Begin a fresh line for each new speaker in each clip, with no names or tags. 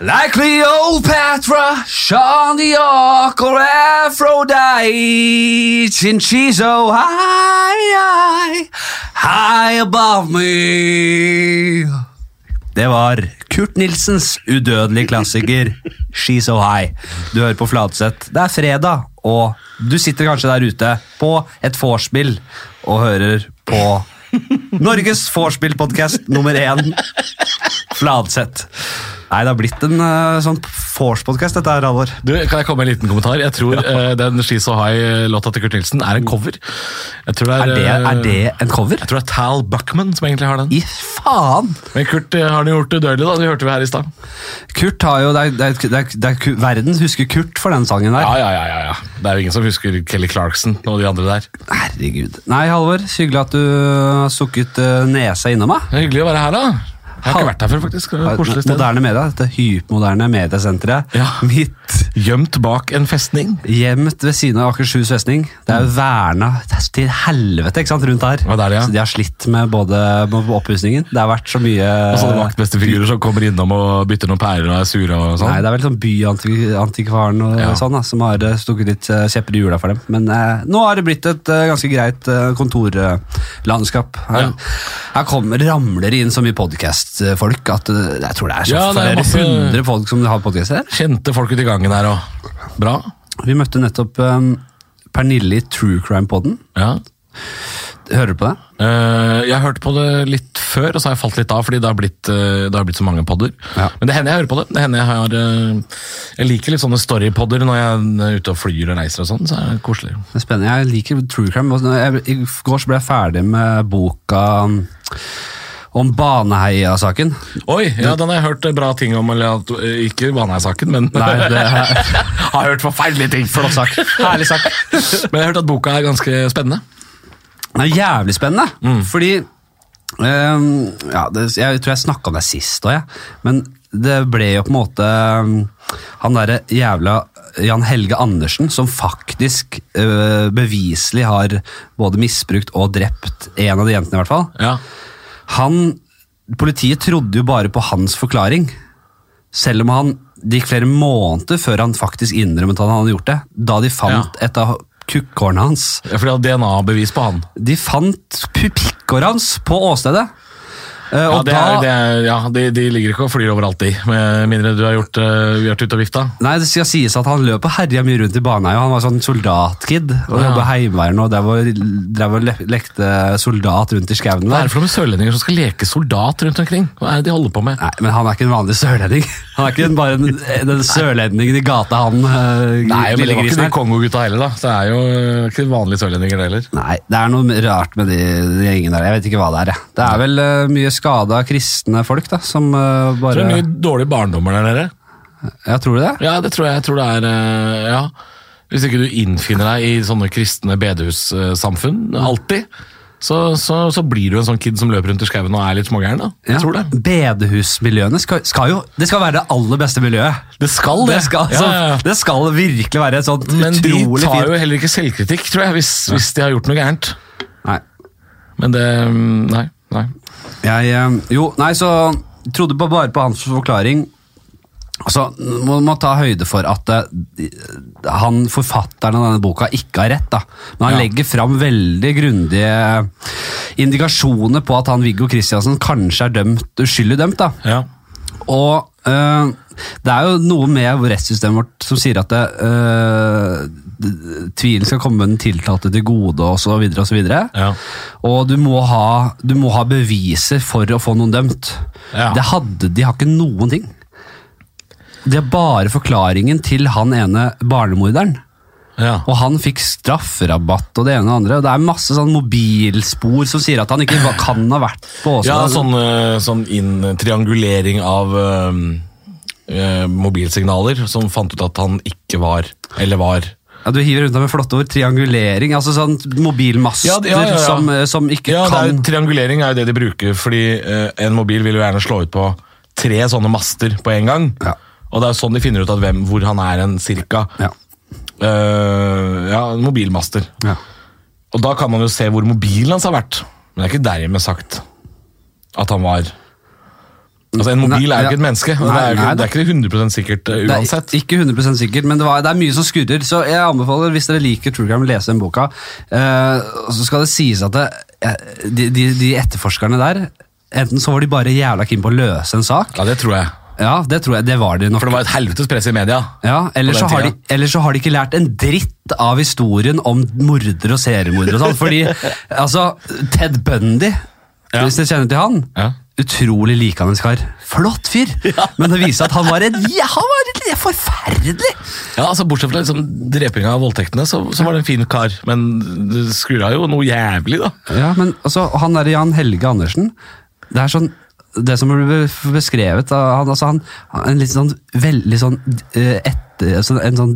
Like Cleopatra, Sean the Ark, or Aphrodite, and she's so high, high, high above me. Det var Kurt Nilsens udødelige klassiker She's So High. Du hører på Fladseth. Det er fredag, og du sitter kanskje der ute på et vorspiel og hører på Norges vorspiel-podkast nummer én, Fladseth. Nei, det har blitt en eh, sånn vorspodkast, dette her, Halvor.
Du, Kan jeg komme med en liten kommentar? Jeg tror eh, den She's So High-låta til Kurt Nilsen er en cover. Jeg tror det er,
Er det, er
eh,
det en cover?
Jeg tror det er Tal Buckman som egentlig har den.
I faen!
Men Kurt eh, har den gjort udødelig, da. Det hørte vi her i stad.
Kurt har jo det er, det er, det er, det er, Verden husker Kurt for den sangen der.
Ja, ja, ja, ja, ja. Det er jo ingen som husker Kelly Clarkson og de andre der.
Herregud. Nei, Halvor, så hyggelig at du har sukket eh, nesa innom meg.
Det er hyggelig å være her, da. Jeg har ikke vært her før, faktisk. Det er et Koselig sted.
Moderne media, dette hypermoderne mediesenteret.
Ja.
Mitt
Gjemt bak en festning.
gjemt ved siden av Akershus festning. Det er jo verna det er til helvete ikke sant, rundt her.
Mm. Ja, det er det, ja.
Så de har slitt med både med oppussingen. Det har vært så mye
Og sånne vaktmestefigurer som kommer innom og bytter noen pærer og er sure og
Nei,
sånn.
det er vel sånn byantikvaren og
Ja.
sånn da, som har eh, stukket litt eh, kjepper i hjula for dem. Men eh, nå har det blitt et eh, ganske greit eh, kontorlandskap. Her,
Ja.
her kommer, ramler det inn så mye podcast-folk at eh, jeg tror det er så
Ja, det
flere
er masse-
hundre folk som har podcast her.
Kjente folk ute i gangen her og Bra.
Vi møtte nettopp eh, Pernille i True Crime-podden.
Ja.
Hører du på det?
Eh, jeg hørte på det litt før, og så har jeg falt litt av, fordi det har blitt, eh, det har blitt så mange podder.
Ja.
Men det hender jeg hører på det. Det hender Jeg har eh, Jeg liker litt sånne storypodder når jeg er ute og flyr og reiser og sånn, så er det koselig.
Det er spennende. Jeg liker true crime. og jeg- I går så ble jeg ferdig med boka um, om Baneheia-saken.
Oi, ja, den har jeg hørt eh, bra ting om, eller at, eh, ikke Baneheia-saken, men
Nei, det er
har hørt forferdelige ting.
flott sak. Herlig sak.
Men jeg har hørt at boka er ganske spennende.
Det er jævlig spennende,
Mm.
fordi ehm, ja, det, Jeg tror jeg snakka om det sist òg, jeg. Men det ble jo på en måte ehm, han derre jævla Jan Helge Andersen som faktisk øh, beviselig har både misbrukt og drept en av de jentene, i hvert fall.
Ja.
Han Politiet trodde jo bare på hans forklaring. Selv om han det gikk flere måneder før han faktisk innrømmet at han hadde gjort det. Da de fant et av kukkhårene hans.
Fordi jeg har DNA-bevis på han.
De fant pikkhåret hans på åstedet. Eh,
Ja,
og
det
da,
er, det er, ja de, de ligger ikke og flyr overalt, de. Med mindre du har gjort, eh, vært ute og vifta.
Nei, det skal sies at han løp og herja mye rundt i Baneheia. Han var sånn soldatkid og
Ja.
jobba i Heimevernet og drev og- drev og le- lekte soldat rundt i skauen
Hva er
der.
det for noen sørlendinger som skal leke soldat rundt omkring? Hva er det de holder på med?
Nei, men han er ikke en vanlig sørlending. Han er ikke en, bare den, den sørlendingen i gata, han eh,
Nei, men
lille
det var ikke
grisen
de
her.
Kongo-gutta heller, da. Så det er jo eh, ikke vanlige sørlendinger, det heller.
Nei, det er noe rart med de, de gjengene der. Jeg vet ikke hva det er. jeg. Det er vel eh, mye skada kristne folk, da, som eh,
Så det
bare
er mye dårlige barndommer der nede.
Ja, tror du det?
Ja, det tror jeg. jeg tror det er, eh, ja. Hvis ikke du innfinner deg i sånne kristne bedehussamfunn, eh, alltid, så, så, så blir du en sånn kid som løper rundt i skauen og er litt smågæren, da. Jeg tror det.
Bedehusmiljøene skal, skal jo Det skal være det aller beste miljøet.
Det skal det.
Det skal,
Ja, ja, ja.
altså, det skal virkelig være et sånt
Men de
utrolig
tar
fint
jo heller ikke selvkritikk, tror jeg, hvis, hvis de har gjort noe gærent.
Nei.
Men det mm, Nei. nei.
Jeg, eh, jo, nei, så trodde på, bare på hans forklaring. Altså, må, må ta høyde for at eh, de- han, forfatteren av denne boka ikke har rett. da. Men han
Ja.
legger fram veldig grundige indikasjoner på at han Viggo Kristiansen kanskje er dømt, uskyldig dømt. da.
Ja.
Og eh, det er jo noe med rettssystemet vårt som sier at det, eh, d- tvilen skal komme den tiltalte til gode osv. Og, så videre, og, så videre.
Ja.
og du må, ha, du må ha beviser for å få noen dømt.
Ja.
Det hadde, de har ikke noen ting. Det er bare forklaringen til han ene barnemorderen.
ja.
Og han fikk strafferabatt og det ene og det andre. Og det er masse sånn mobilspor som sier at han ikke kan ha vært på Åsane.
Ja, sånn, eh, sånn inn, triangulering av eh, eh, mobilsignaler som fant ut at han ikke var, eller var.
Ja, Du hiver rundt deg med flotte ord. Triangulering. altså sånn Mobilmaster
Ja, ja, ja, ja.
Som, eh, som ikke
Ja, det er,
kan
jo- triangulering er jo det de bruker, fordi eh, en mobil vil jo gjerne slå ut på tre sånne master på en gang.
Ja.
Og det er jo sånn de finner ut at hvem, hvor han er en cirka.
Ja.
Eh, ja, en mobilmaster.
Ja.
Og da kan man jo se hvor mobilen hans har vært. Men det er ikke dermed sagt at han var Altså, En mobil
Nei,
er
ja.
jo ikke et menneske. og
Nei,
det, er jo
nei,
ikke, det er ikke 100 sikkert uh,
Det er
uansett.
Ikke 100 sikkert, men det, var, det er mye som skurrer. Så jeg anbefaler, hvis dere liker True Crime, lese den boka. Eh, og så skal det sies at det, eh, de, de, de etterforskerne der Enten så var de bare jævla keen på å løse en sak.
Ja, Det tror jeg.
Ja, det tror jeg, det var de nok.
For det var et helvetes press i media.
Ja, eller
På
så,
den
har de,
tida.
eller så har de ikke lært en dritt av historien om morder og seriemorder og sånn. Fordi altså, Ted Bundy,
Ja.
hvis dere kjenner til han
Ja.
Utrolig likende kar. Flott fyr! Men det viser at han var en ja, Han var en forferdelig!
Ja, altså Bortsett fra liksom, drepinga og voldtektene, så, så var det en fin kar. Men det skurra jo noe jævlig, da.
Ja, men altså, han der Jan Helge Andersen Det er sånn det som blir be- beskrevet av han, altså han, han er en litt sånn veldig sånn eh, etter, altså en sånn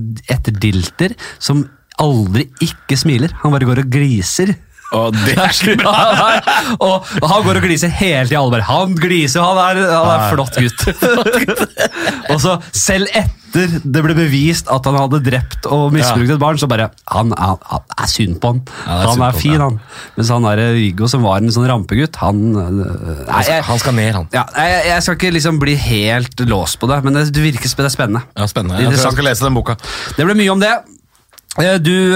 etterdilter som aldri ikke smiler. Han bare går og gliser.
Og det er ikke
Ja, nei. og han går og gliser hele tida. Alle bare 'han gliser', han er, han er en flott gutt. og så selv etter det ble bevist at han hadde drept og misbrukt et barn, så bare Han, han, han er synd på han.
Ja, det er
han
synd på
er
han,
fin,
ja.
han. Mens han der Viggo som var en sånn rampegutt, han øh, Nei,
Han skal, han skal ned, han.
ja, nei, jeg, jeg skal ikke liksom bli helt låst på det, men det, det virker sp- det er spennende.
Ja, Spennende. Jeg tror jeg skal lese den boka.
Det ble mye om det. Eh, Du
Det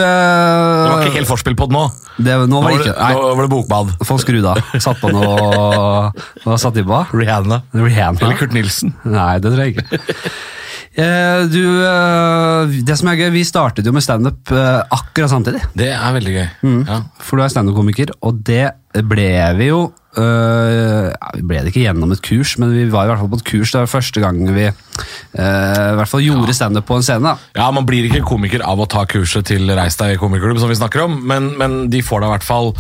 øh,
var ikke helt forspill på den nå.
det, Nå
Nå
var det
var det,
ikke nei.
nå var det bokbad.
Få skrudd av. Satt på noe Hva satt de på?
Rihanna.
Rihanna?
Eller Kurt Nilsen.
Nei, det tror jeg ikke. Eh, du, eh, det som er gøy, Vi startet jo med standup eh, akkurat samtidig.
Det er veldig gøy. Ja.
For du er standup-komiker, og det ble vi jo eh, ja, Vi ble det ikke gjennom et kurs, men vi var i hvert fall på et kurs. Det var første gang vi eh, i hvert fall gjorde standup på en scene. da.
Ja, Man blir ikke komiker av å ta kurset til Reis deg komikerklubb, som vi snakker om, men, men de får deg i hvert fall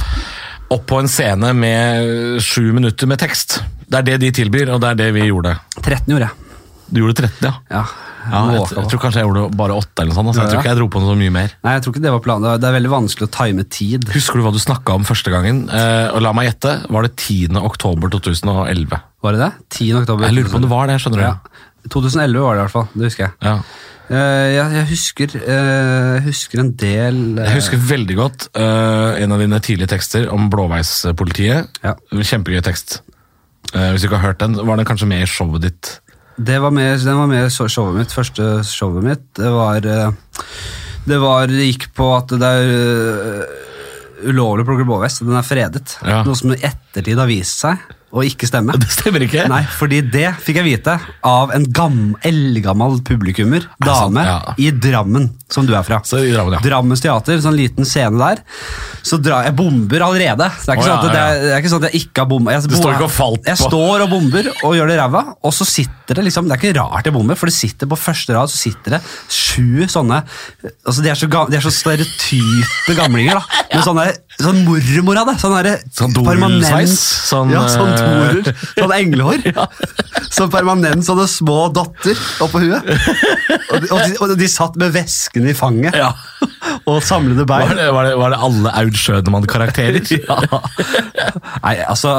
opp på en scene med sju minutter med tekst. Det er det de tilbyr, og det er det vi gjorde.
13 gjorde jeg.
Du gjorde 13, ja?
Ja,
Ja, jeg,
Måka
jeg
på.
tror kanskje jeg gjorde bare åtte, eller noe sånt. Altså. Jeg tror ikke jeg dro på noe så mye mer.
Nei, jeg tror ikke det var planen. Det er- Det er veldig vanskelig å time tid.
Husker du hva du snakka om første gangen? Eh, og la meg gjette, var det 10. oktober 2011?
Var det det? 10. oktober.
Jeg lurer på om det var det, skjønner du.
Ja. 2011 var det i hvert fall, det husker jeg.
Ja.
Eh, jeg, jeg husker, eh, jeg husker en del eh,
Jeg husker veldig godt eh, en av dine tidlige tekster om blåveispolitiet.
Ja.
Kjempegøy tekst. Eh, hvis du ikke har hørt den, var den kanskje med i showet ditt?
det var med, Den var med i so- showet mitt, første showet mitt. Det var eh, Det var, det gikk på at det er eh, ulovlig å plukke blåvest. Den er fredet.
Ja.
Noe som i ettertid har vist seg å ikke stemme.
Det stemmer ikke!
Nei, fordi det fikk jeg vite av en gam, eldgammel publikummer,
sant?
dame,
Ja.
i Drammen, som du er fra.
Så i Drammen, ja.
Drammens teater, sånn liten scene der. Så dra, jeg bomber allerede. Det er ikke,
Å, ja,
sånn, at det,
ja,
er, det er ikke sånn at jeg ikke har bomba. Jeg,
Du står
bomba-
ikke og falt
Jeg
på.
står og bomber og gjør det ræva, og så sitter det liksom, det er ikke rart jeg bomber, for det sitter på første rad så sitter det sju sånne, altså de er så, ga- de er så stereotype gamlinger da, med sånne, sånn mormor av det, sånn derre
Sånn
permanent-
dorullsveis, sånn,
ja, sånn
eh,
dorer, sånn englehår. Sånn permanent sånne små dotter oppå huet. Og de, og, de, og de satt med vesken i fanget
Ja.
og samlede
Var,
bein.
det, var, det, var det alle Aud Schønemann-karakterer?
Nei, altså,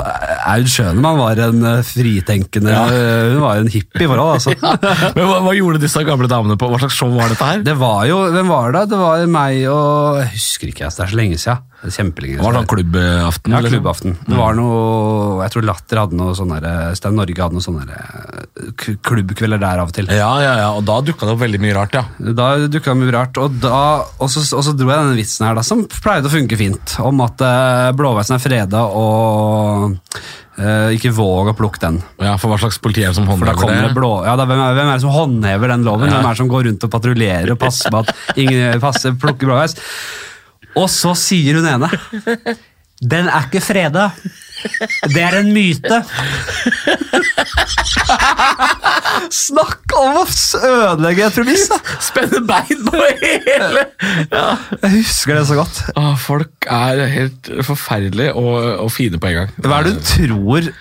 Aud Schønemann var en eh, fritenkende
Ja.
eh, Hun var en hippie, var hun, altså.
Men hva, hva gjorde disse gamle damene på? Hva slags show var dette her?
Det var jo Hvem var det? Det var meg og Jeg husker ikke, altså. Det er så lenge siden. Det er Kjempelenge
Det var
siden.
sånn klubbaften?
Ja,
liksom.
klubbaften. Det var noe Jeg tror Latter hadde noe sånn der Stein Norge hadde noe sånn der eh, k- klubbkvelder der av og til.
Ja, ja, ja, og da dukka det opp veldig mye rart, ja.
Da dukka mye rart, og, da, og, så, og så dro jeg denne vitsen her, da, som pleide å funke fint, om at eh, blåveisen er freda og eh, ikke våg å plukke den.
ja. For hva slags politi er det som
For da
håndhever
kommer det
det?
blå... Ja, da, hvem, er, hvem er det som håndhever den loven? Hvem er det som går rundt og patruljerer og passer på at ingen passer, plukker blåveis? Og så sier hun ene Den er ikke freda. Det er en myte. Snakk om å ødelegge et premiss, da!
Spenne bein på hele ja.
Jeg husker det så godt.
Åh, Folk er helt forferdelige og, og fine på en gang.
Hva er det hun tror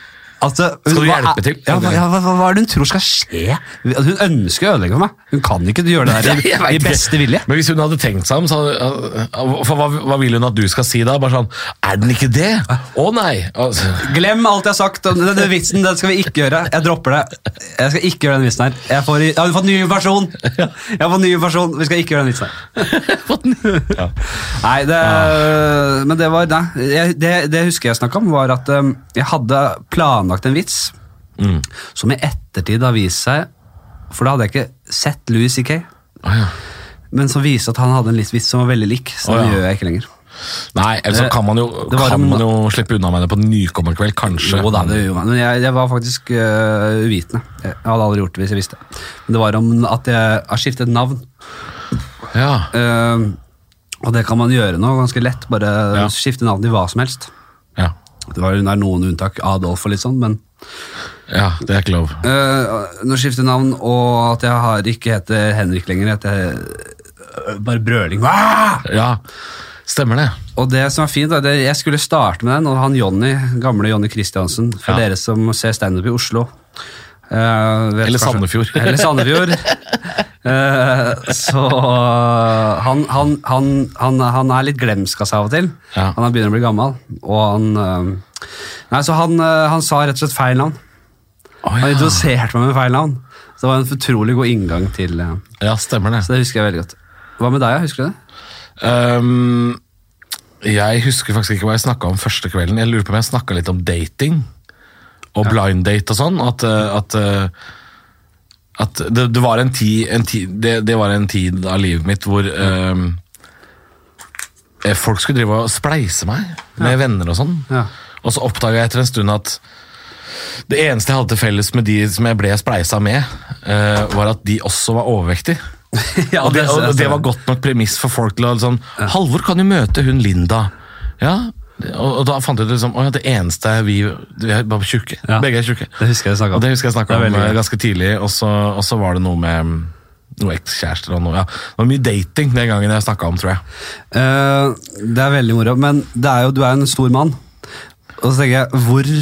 altså, hun,
Skal du
hva er-
hjelpe til?
Ja, hva, ja, hva, hva er det hun tror skal skje? Hun ønsker å ødelegge for meg. Hun kan ikke gjøre det der i,
Jeg vet
i
ikke.
beste vilje.
Men hvis hun hadde tenkt seg om, så hadde, for hva, hva vil hun at du skal si da? Bare sånn Er den ikke det? Å nei! Altså,
Glem alt jeg har sagt. om Denne vitsen den skal vi ikke gjøre. Jeg dropper det. Jeg skal ikke gjøre den vitsen her. Jeg, får, jeg har fått ny informasjon. Jeg har fått ny informasjon. Vi skal ikke gjøre den vitsen her.
ja.
Nei, det, men det var nei, jeg- det, det husker jeg snakka om, var at um, jeg hadde eh, planlagt en vits
mm.
Som i ettertid har vist seg For da hadde jeg ikke sett Louis C.K.,
Å, ja.
men som viste at han hadde en litt vits som var veldig lik. Så
Å,
den
ja.
gjør jeg ikke lenger.
Nei, ellers så
Det-
kan man jo,
det var
kan
en-
man jo slippe unna med det på nykommerkveld, kanskje.
Jo da, det gjorde man. Men jeg, jeg var faktisk øh, uvitende. Jeg hadde aldri gjort det hvis jeg visste. Men det var om at jeg har skiftet navn.
Ja.
Eh, og det kan man gjøre nå ganske lett. Bare
Ja.
skifte navn til hva som helst.
Ja.
Det var jo der noen unntak, Adolf og litt sånn, men
ja, det er ikke lov.
eh, nå skifter jeg navn, og at jeg har ikke heter Henrik lenger, jeg heter øh, bare Brøling. Hva?
Ja, stemmer det.
Og det som er fint, da, det, jeg skulle starte med den, og han Jonny, gamle Jonny Kristiansen, for
Ja.
dere som ser standup i Oslo. eh, vet
Eller Sandefjord.
Eller Sandefjord. Eh, så han, han, han, han, han er litt glemsk av seg av og til.
Ja.
Han er begynner å bli gammel. Og han eh, Nei, så han, eh, han sa rett og slett feil navn.
Å,
Han
ja.
introduserte meg med feil navn. Så det var en utrolig god inngang til eh,
ja, stemmer det.
Så det husker jeg veldig godt. Hva med deg, ja? husker du det?
Ehm, jeg husker faktisk ikke hva jeg snakka om første kvelden. Jeg lurer på om jeg snakka litt om dating og blind date og sånn. At, eh, at, eh, at det, det var en tid, en tid det, det var en tid av livet mitt hvor ehm, eh, folk skulle drive og spleise meg med venner og sånn.
Ja.
Og så oppdaga jeg etter en stund at det eneste jeg hadde til felles med de som jeg ble spleisa med, eh, var at de også var overvektige.
ja,
Og det, og
det-
det var godt nok premiss for folk til å sånn, Halvor kan jo møte hun Linda. Ja, og, og da fant jeg ut liksom, «Å ja, det eneste er vi, vi er bare tjukke.
Ja.
Begge er tjukke.
Det husker jeg snakket om.
Og det husker jeg
Det
snakket
er
om
veldig
eh,
gøy.
ganske tidlig, og så, og så var det noe med mm, noe ekskjærester og noe. Ja. Det var mye dating den gangen jeg snakka om, tror jeg.
Eh, det er veldig moro, men det er jo, du er jo en stor mann. Og så tenker jeg, hvor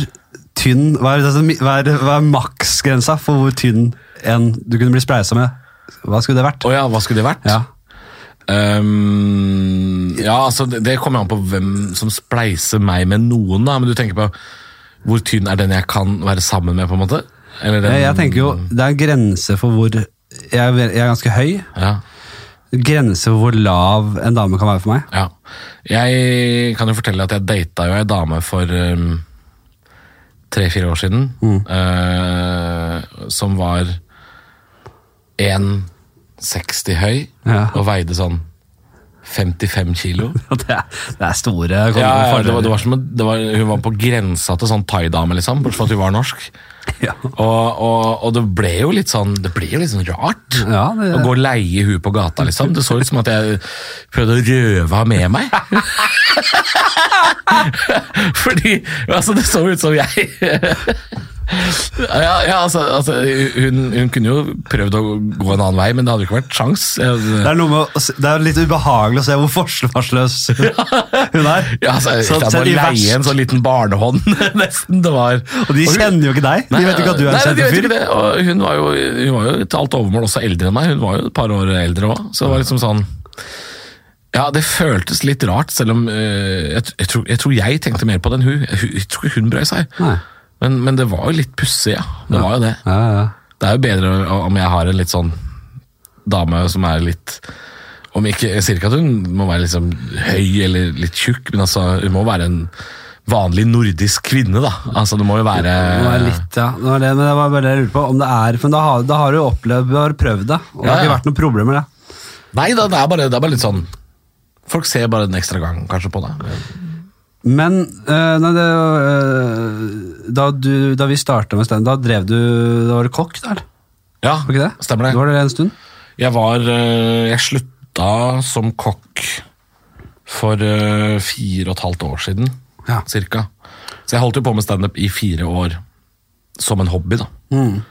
tynn Hva er, det som- hva er, hva er maksgrensa for hvor tynn en du kunne bli spleisa med? Hva skulle det vært?
Å ja, hva skulle det vært?
Ja.
Ehm, ja, altså det, det kommer an på hvem som spleiser meg med noen, da. Men du tenker på hvor tynn er den jeg kan være sammen med, på en måte? Eller den,
Jeg, jeg tenker jo, Det er en grense for hvor jeg, er vel- jeg er ganske høy.
ja.
Grense for hvor lav en dame kan være for meg.
Ja. Jeg kan jo fortelle at jeg data jo ei dame for um, tre-fire år siden. eh, som var 1,60 høy
Ja.
og veide sånn 55 kilo.
Og Det er, det er store kommer-
Ja, ja, det var,
fordeler.
det var som, en- det var, hun var på grensa til sånn thaidame, liksom, bortsett fra at hun var norsk.
Ja.
Og, og, og det ble jo litt sånn Det ble jo litt sånn rart
Ja, det-
å gå og leie hun på gata, liksom. Det så ut som at jeg prøvde å røve henne med meg. Fordi altså, det så ut som jeg Ja, ja altså, altså hun, hun kunne jo prøvd å gå en annen vei, men det hadde jo ikke vært sjans.
Det er noe med, å se- det er litt ubehagelig å se hvor forsvarsløs hun er.
Ja, altså,
Sånn
det er
sett
bare
i
å
verst-
leie en sånn liten barnehånd, nesten. Det var
Og de
hun-
kjenner jo ikke deg. De vet ikke at du er en
nei, nei, de
kjent
vet
fyr.
ikke det, og hun var, jo, hun var jo til alt overmål også eldre enn meg. Hun var jo et par år eldre òg, så det var liksom sånn Ja, det føltes litt rart, selv om eh, jeg, jeg, tror, jeg tror jeg tenkte mer på det enn hun. Jeg, jeg tror ikke hun brøy seg.
Nei.
Men, men det var jo litt pussig, ja. Det var jo det.
Ja, ja, ja.
Det er jo bedre om jeg har en litt sånn dame som er litt om ikke, Jeg sier ikke at hun må være liksom høy eller litt tjukk, men altså, hun må være en vanlig nordisk kvinne, da. Altså, det må jo være
Det var litt, ja. Det var det, men det var bare det jeg lurte på. Om det er, for da har, da har du opplevd du har prøvd det, og det
Ja,
har ikke
ja.
vært noe problem med det.
Nei da, det er bare, det er bare litt sånn Folk ser bare en ekstra gang kanskje på deg.
Men øh, nei, det, øh, da, du, da vi starta med stand, da drev du Da var du kokk, da? eller?
Ja,
Var ikke det? Du
stemmer det.
var det en stund?
Jeg var eh, Jeg slutta som kokk for eh, fire og et halvt år siden,
Ja.
cirka. Så jeg holdt jo på med standup i fire år som en hobby, da.
Mm,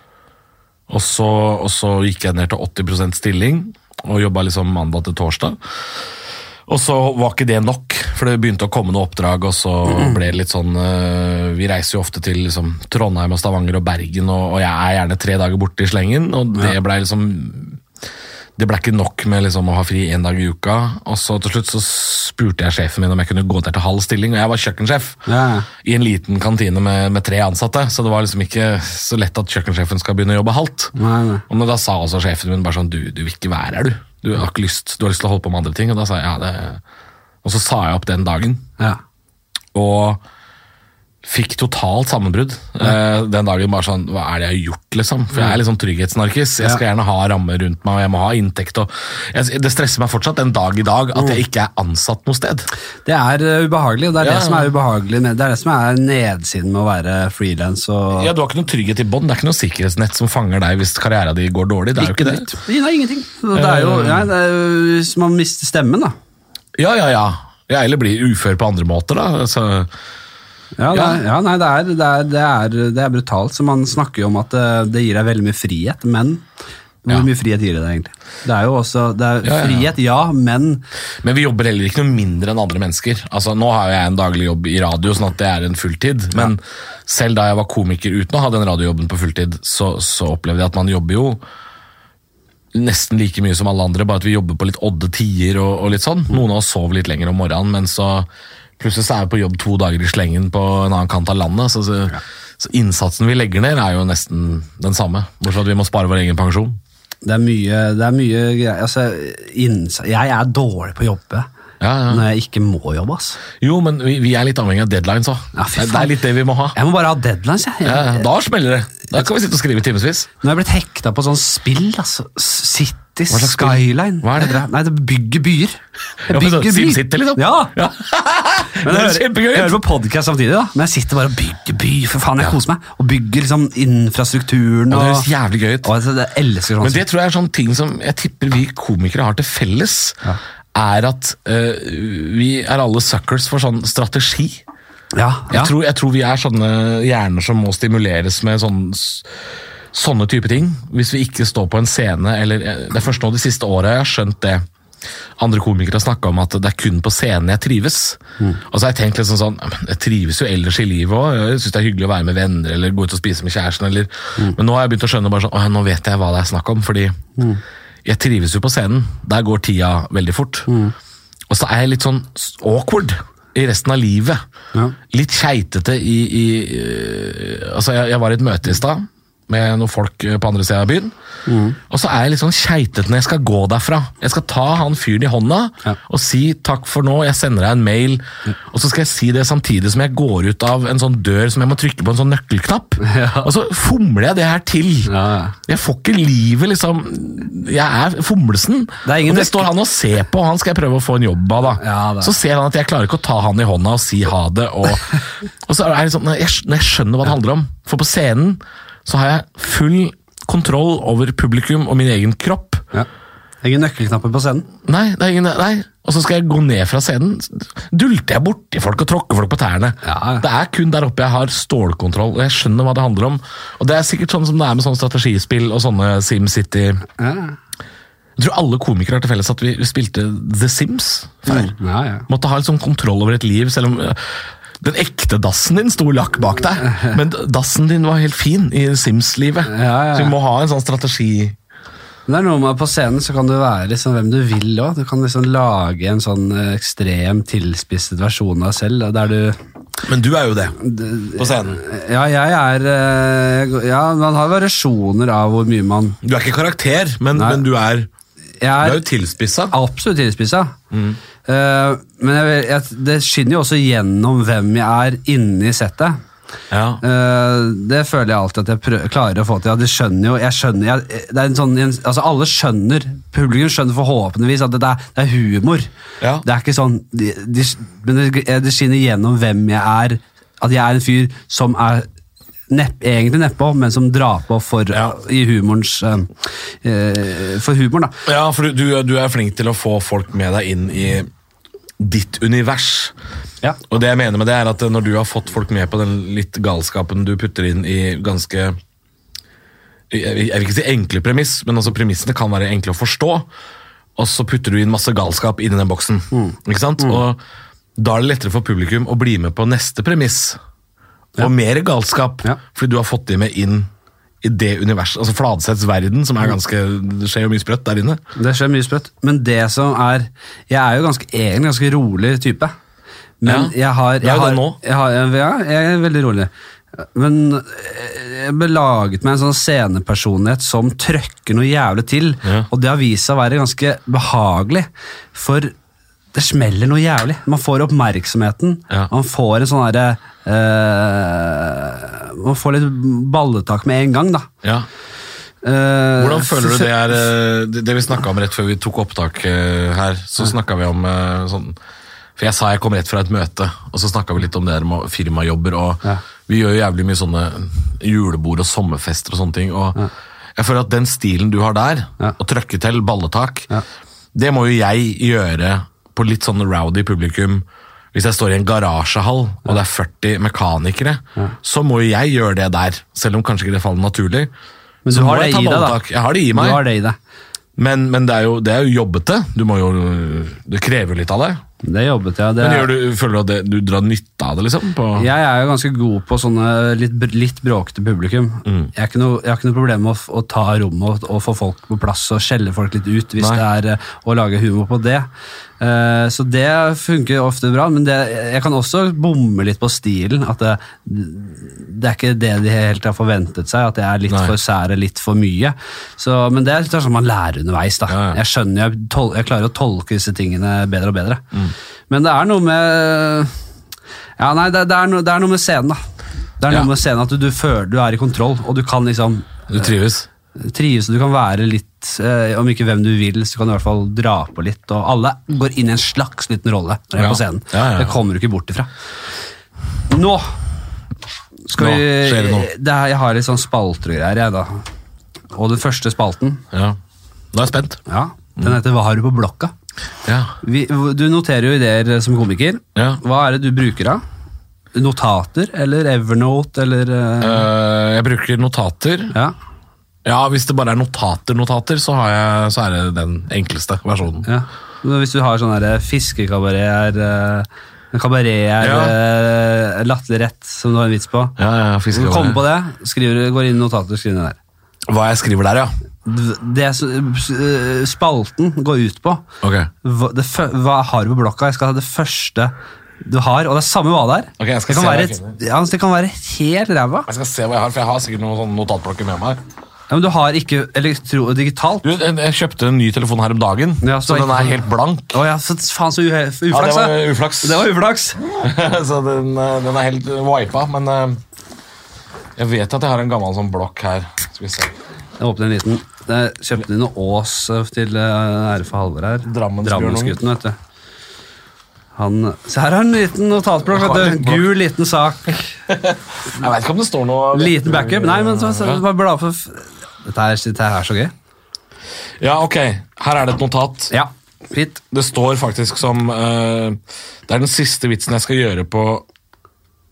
Og så, og så gikk jeg ned til 80 stilling og jobba liksom mandag til torsdag. Og så var ikke det nok, for det begynte å komme noen oppdrag. og så ble det litt sånn, eh, Vi reiser jo ofte til liksom, Trondheim og Stavanger og Bergen, og, og jeg er gjerne tre dager borte i slengen. og Det blei liksom, det ble ikke nok med liksom, å ha fri én dag i uka. og så Til slutt så spurte jeg sjefen min om jeg kunne gå ned til halv stilling, og jeg var kjøkkensjef
Ja, ja.
i en liten kantine med, med tre ansatte, så det var liksom ikke så lett at kjøkkensjefen skal begynne å jobbe halvt.
Nei, nei.
Og men da sa også sjefen min bare sånn, du, du vil ikke være her, du. Du har ikke lyst, du har lyst til å holde på med andre ting. Og da sa jeg, ja, det... Og så sa jeg opp den dagen.
Ja.
Og Fikk totalt sammenbrudd eh, den dagen. bare sånn, Hva er det jeg har gjort, liksom? For jeg er litt sånn trygghetsnarkis. Jeg skal gjerne ha rammer rundt meg, og jeg må ha inntekt. og jeg, Det stresser meg fortsatt den dag i dag
Mm.
at jeg ikke er ansatt noe sted.
Det er eh, ubehagelig, og det er
Ja.
det som er ubehagelig med Det er det som er nedsiden med å være frilans og
Ja, Du har ikke noe trygghet i bånd, det er ikke noe sikkerhetsnett som fanger deg hvis karrieren din går dårlig. Det er jo ikke det. Eh.
Nei, det er ingenting. Det er jo, nei, det er jo hvis man mister stemmen, da.
Ja, ja, ja. Ja, Eller blir ufør på andre måter, da. Altså, Så,
Ja, det
Ja.
er, ja nei, det er, det er, det er, det er brutalt. Så man snakker jo om at det, det gir deg veldig mye frihet, men hvor
Ja.
mye frihet gir det deg egentlig? Det er jo også det er
Ja, ja, ja.
frihet, ja, men
Men vi jobber heller ikke noe mindre enn andre mennesker. Altså, Nå har jo jeg en daglig jobb i radio, sånn at det er en fulltid. Men selv da jeg var komiker uten å ha den radiojobben på fulltid, så, så opplevde jeg at man jobber jo nesten like mye som alle andre, bare at vi jobber på litt odde tider og, og litt sånn. Noen av oss sover litt lenger om morgenen, men så plutselig så er vi på jobb to dager i slengen på en annen kant av landet. Så, så, så innsatsen vi legger ned, er jo nesten den samme. Bortsett fra at vi må spare vår egen pensjon.
det er mye, det er mye greier. Altså, innsa- jeg er dårlig på å jobbe
Ja, ja.
når jeg ikke må jobbe, ass.
Jo, men vi, vi er litt avhengig av deadlines òg.
Ja, fy
det, det
faen.
er litt det vi må ha.
Jeg må bare ha deadlines, jeg.
Ah. Ja,
jeg
ja, da smeller det. Da kan vi sitte og skrive i timevis.
Nå har jeg blitt hekta på sånn spill, altså. City,
Hva slags spill?
Skyline.
Hva er det?
Nei, det bygger byer. Jeg
Ja, men så-
bygger byer.
SimCity, liksom?
Ja.
Ja.
Men
det
jeg,
høres
hører,
kjempegøy
jeg hører
ut!
på podcast samtidig, da. Men jeg sitter bare og bygger by. For faen, jeg koser meg. Og bygger liksom infrastrukturen
Og
og,
det høres jævlig gøy ut.
og altså, Jeg elsker sånn.
Men det tror jeg er sånn ting som jeg tipper vi komikere har til felles, er at eh, vi er alle suckers for sånn strategi.
ja, ja.
Jeg, tror, jeg tror vi er sånne hjerner som må stimuleres med sånn s- sånne type ting. Hvis vi ikke står på en scene, eller eh, Det er først nå de siste åra jeg har skjønt det. Andre komikere har snakka om at det er kun på scenen jeg trives. Og så har jeg tenkt liksom sånn "Ja, men Jeg trives jo ellers i livet òg. Jeg syns det er hyggelig å være med venner eller gå ut og spise med kjæresten. Eller. Men nå har jeg begynt å skjønne bare sånn Å ja, nå vet jeg hva det er snakk om. Fordi jeg trives jo på scenen. Der går tida veldig fort. Og så er jeg litt sånn awkward i resten av livet. Litt keitete i, i øh, Altså, jeg, jeg var i et møte i stad med noen folk øh, på andre sida av byen. Og så er jeg litt sånn keitete når jeg skal gå derfra. Jeg skal ta han fyren i hånda og si 'takk for nå, jeg sender deg en mail'. Og så skal jeg si det samtidig som jeg går ut av en sånn dør som jeg må trykke på en sånn nøkkelknapp.
Ja.
Og så fomler jeg det her til.
Ja, ja.
Jeg får ikke livet, liksom. Jeg er fomlesen.
er ingen
og det
nøkkel-
står han og ser på, og han skal jeg prøve å få en jobb av. da.
Ja, det er-
så ser han at jeg klarer ikke å ta han i hånda og si ha det. Og, og så er det sånn, jeg, skj- jeg skjønner hva det handler om. For på scenen så har jeg full kontroll over publikum og min egen kropp.
ja. Ingen nøkkelknapper på scenen.
Nei, det er ingen, nei. Og så skal jeg gå ned fra scenen. Dulter jeg borti folk og tråkker folk på tærne.
Ja, ja.
Det er kun der oppe jeg har stålkontroll, og jeg skjønner hva det handler om. Og det er sikkert sånn som det er med sånne strategispill og sånne SimCity.
Ja,
Jeg tror alle komikere har til felles at vi vi spilte The Sims før.
ja. ja.
Måtte ha litt sånn kontroll over et liv, selv om øh, den ekte dassen din sto lakk bak deg. Men dassen din var helt fin i Sims-livet.
ja, ja.
Så vi må ha en sånn strategi.
Men det er noe med at på scenen så kan du være liksom hvem du vil òg. Du kan liksom lage en sånn eh, ekstrem tilspisset versjon av deg selv. Der du
Men du er jo det, på scenen.
Ja, jeg er eh, jeg går- Ja, man har variasjoner av hvor mye man
Du er ikke karakter, men,
Nei. men
du er
Jeg er
tilspissa.
absolutt tilspissa.
Mm.
Eh, men jeg, vil- jeg, det skinner jo også gjennom hvem jeg er inni settet.
Ja.
Eh, det føler jeg alltid at jeg prø- klarer å få til. Ja, det skjønner jo, jeg skjønner, jeg, det er en sånn, en, altså Alle skjønner, publikum skjønner forhåpentligvis at det, det, er, det er humor.
Ja.
Det er ikke sånn, de, de, Men det, eh, det skinner gjennom hvem jeg er. At jeg er en fyr som er nepp, egentlig nedpå, men som drar på for,
Ja.
i humorens, eh, eh, for humoren. da.
ja, for du, du, du er flink til å få folk med deg inn i ditt univers.
Ja.
Og det jeg mener med det er at eh, når du har fått folk med på den litt galskapen du putter inn i ganske jeg vil jeg vil ikke si enkle premiss, men altså premissene kan være enkle å forstå. Og så putter du inn masse galskap inni den boksen. Ikke sant? Og da er det lettere for publikum å bli med på neste premiss. Og mer galskap,
Ja.
fordi du har fått de med inn i det universet. Altså Fladseths verden, som er ganske Det skjer jo mye sprøtt der inne.
Det skjer mye sprøtt. Men det som er Jeg er jo ganske, egentlig ganske rolig type. Men
Ja,
jeg har,
det er
jeg
jo
har,
det nå.
Jeg har, ja, jeg er veldig rolig. Men eh, jeg belaget meg en sånn scenepersonlighet som trøkker noe jævlig til.
Ja.
Og det har vist seg å være ganske behagelig. For det smeller noe jævlig. Man får oppmerksomheten.
Ja.
Man får en sånn herre eh, Man får litt balletak med en gang, da.
Ja.
Eh,
Hvordan føler du
så-
det er eh, Det det vi snakka om rett før vi tok opptak eh, her, så snakka vi om eh, sånn For jeg sa jeg kom rett fra et møte, og så snakka vi litt om det her med firmajobber og
Ja.
Vi gjør jo jævlig mye sånne julebord og sommerfester og sånne ting. Og jeg føler at den stilen du har der,
Ja.
å trøkke til balletak, det må jo jeg gjøre på litt sånn rowdy publikum. Hvis jeg står i en garasjehall og det er 40 mekanikere, så må jo jeg gjøre det der. Selv om kanskje ikke det faller naturlig.
Men
Så
du har
må
det
jeg ta
i deg, da.
balletak. Jeg har det i meg.
Du har det i deg.
Men, men det, er jo, det er jo jobbete. Du må jo, det krever jo litt av deg.
Det jobbet jeg. Det,
Men gjør du, føler du at det, du drar nytte av det, liksom? På,
Jeg er jo ganske god på sånne litt, br- litt bråkete publikum.
Mm.
Jeg, har ikke noe, jeg har ikke noe problem med å, f- å ta rommet og, og få folk på plass og skjelle folk litt ut hvis
Nei.
det er eh, å lage humor på det. Eh, så det funker ofte bra, men det, jeg kan også bomme litt på stilen. At det, det er ikke det de helt har forventet seg, at jeg er litt
Nei.
for sær og litt for mye. Så, men det er litt sånn man lærer underveis. da.
Ja, ja.
Jeg skjønner, jeg, tol jeg klarer å tolke disse tingene bedre og bedre.
Mm.
Men det er noe med ja, nei, det, det, er noe, det er noe med scenen, da. Det er noe
Ja.
med scenen At du, du føler du er i kontroll, og du kan liksom
Du trives?
trives. og Du kan være litt, eh, om ikke hvem du vil, så kan du i hvert fall dra på litt. Og alle går inn i en slags liten rolle når de er
Ja.
på scenen.
Ja, ja, ja.
Det kommer du ikke bort ifra. Nå skal
Nå
vi
skjer det noe.
det er, Jeg har litt sånn spalter og greier, jeg, da. Og den første spalten,
Ja. Nå er jeg spent.
ja,
Mm.
den heter Hva har du på blokka?
Ja.
Vi, du noterer jo ideer som komiker.
Ja.
Hva er det du bruker av? Notater eller Evernote eller eh,
Eh, jeg bruker notater.
Ja.
Ja, Hvis det bare er notater-notater, så, har jeg- så er det den enkleste versjonen.
ja. Men Hvis du har sånn derre fiskekabaret er eh, en Kabaret er
Ja.
eh, latterrett, som du har en vits på.
Ja, ja,
Hvis
fisker-
du kommer på det, skriver, går inn i notater og skriver ned der.
Hva jeg skriver der, ja.
D- Det som- s- eh, spalten går ut på
Ok,
hva, det, fø- hva har du på blokka? Jeg skal ha det første du har, og det er samme hva det er.
Ok, jeg
det,
skal se
kan
hva
være
jeg finner.
et, ja, altså, det kan være helt ræva.
Jeg skal se hva jeg har, for jeg har sikkert noen sånne notatblokker med meg.
Ja, men du har ikke elektro digitalt.
Du, jeg jeg kjøpte en ny telefon her om dagen,
Ja,
så
så
den
ikke-
er helt blank.
Å ja, så faen så uhe-
Ja, det
uflaks,
var
da.
uflaks.
Det var uflaks.
så den, eh, den er helt wipa, men eh, jeg vet at jeg har en gammel sånn blokk her. Skal vi se.
Jeg åpner en liten. Der kjøpte de noe Ås eh, til eh, ære for Halvor her.
Drammensbjørnungen.
Drammensgutten, vet du. Han, se her har han en liten notatblokk.
Jeg har
vet
en
du.
blokk.
Gul, liten sak.
Jeg vet ikke om det står noe
Liten backup. Nei, men så, så, bare bla for f- dette her, dette her er så gøy.
Ja, ok. Her er det et notat.
Ja, fint.
Det står faktisk som eh, Det er den siste vitsen jeg skal gjøre på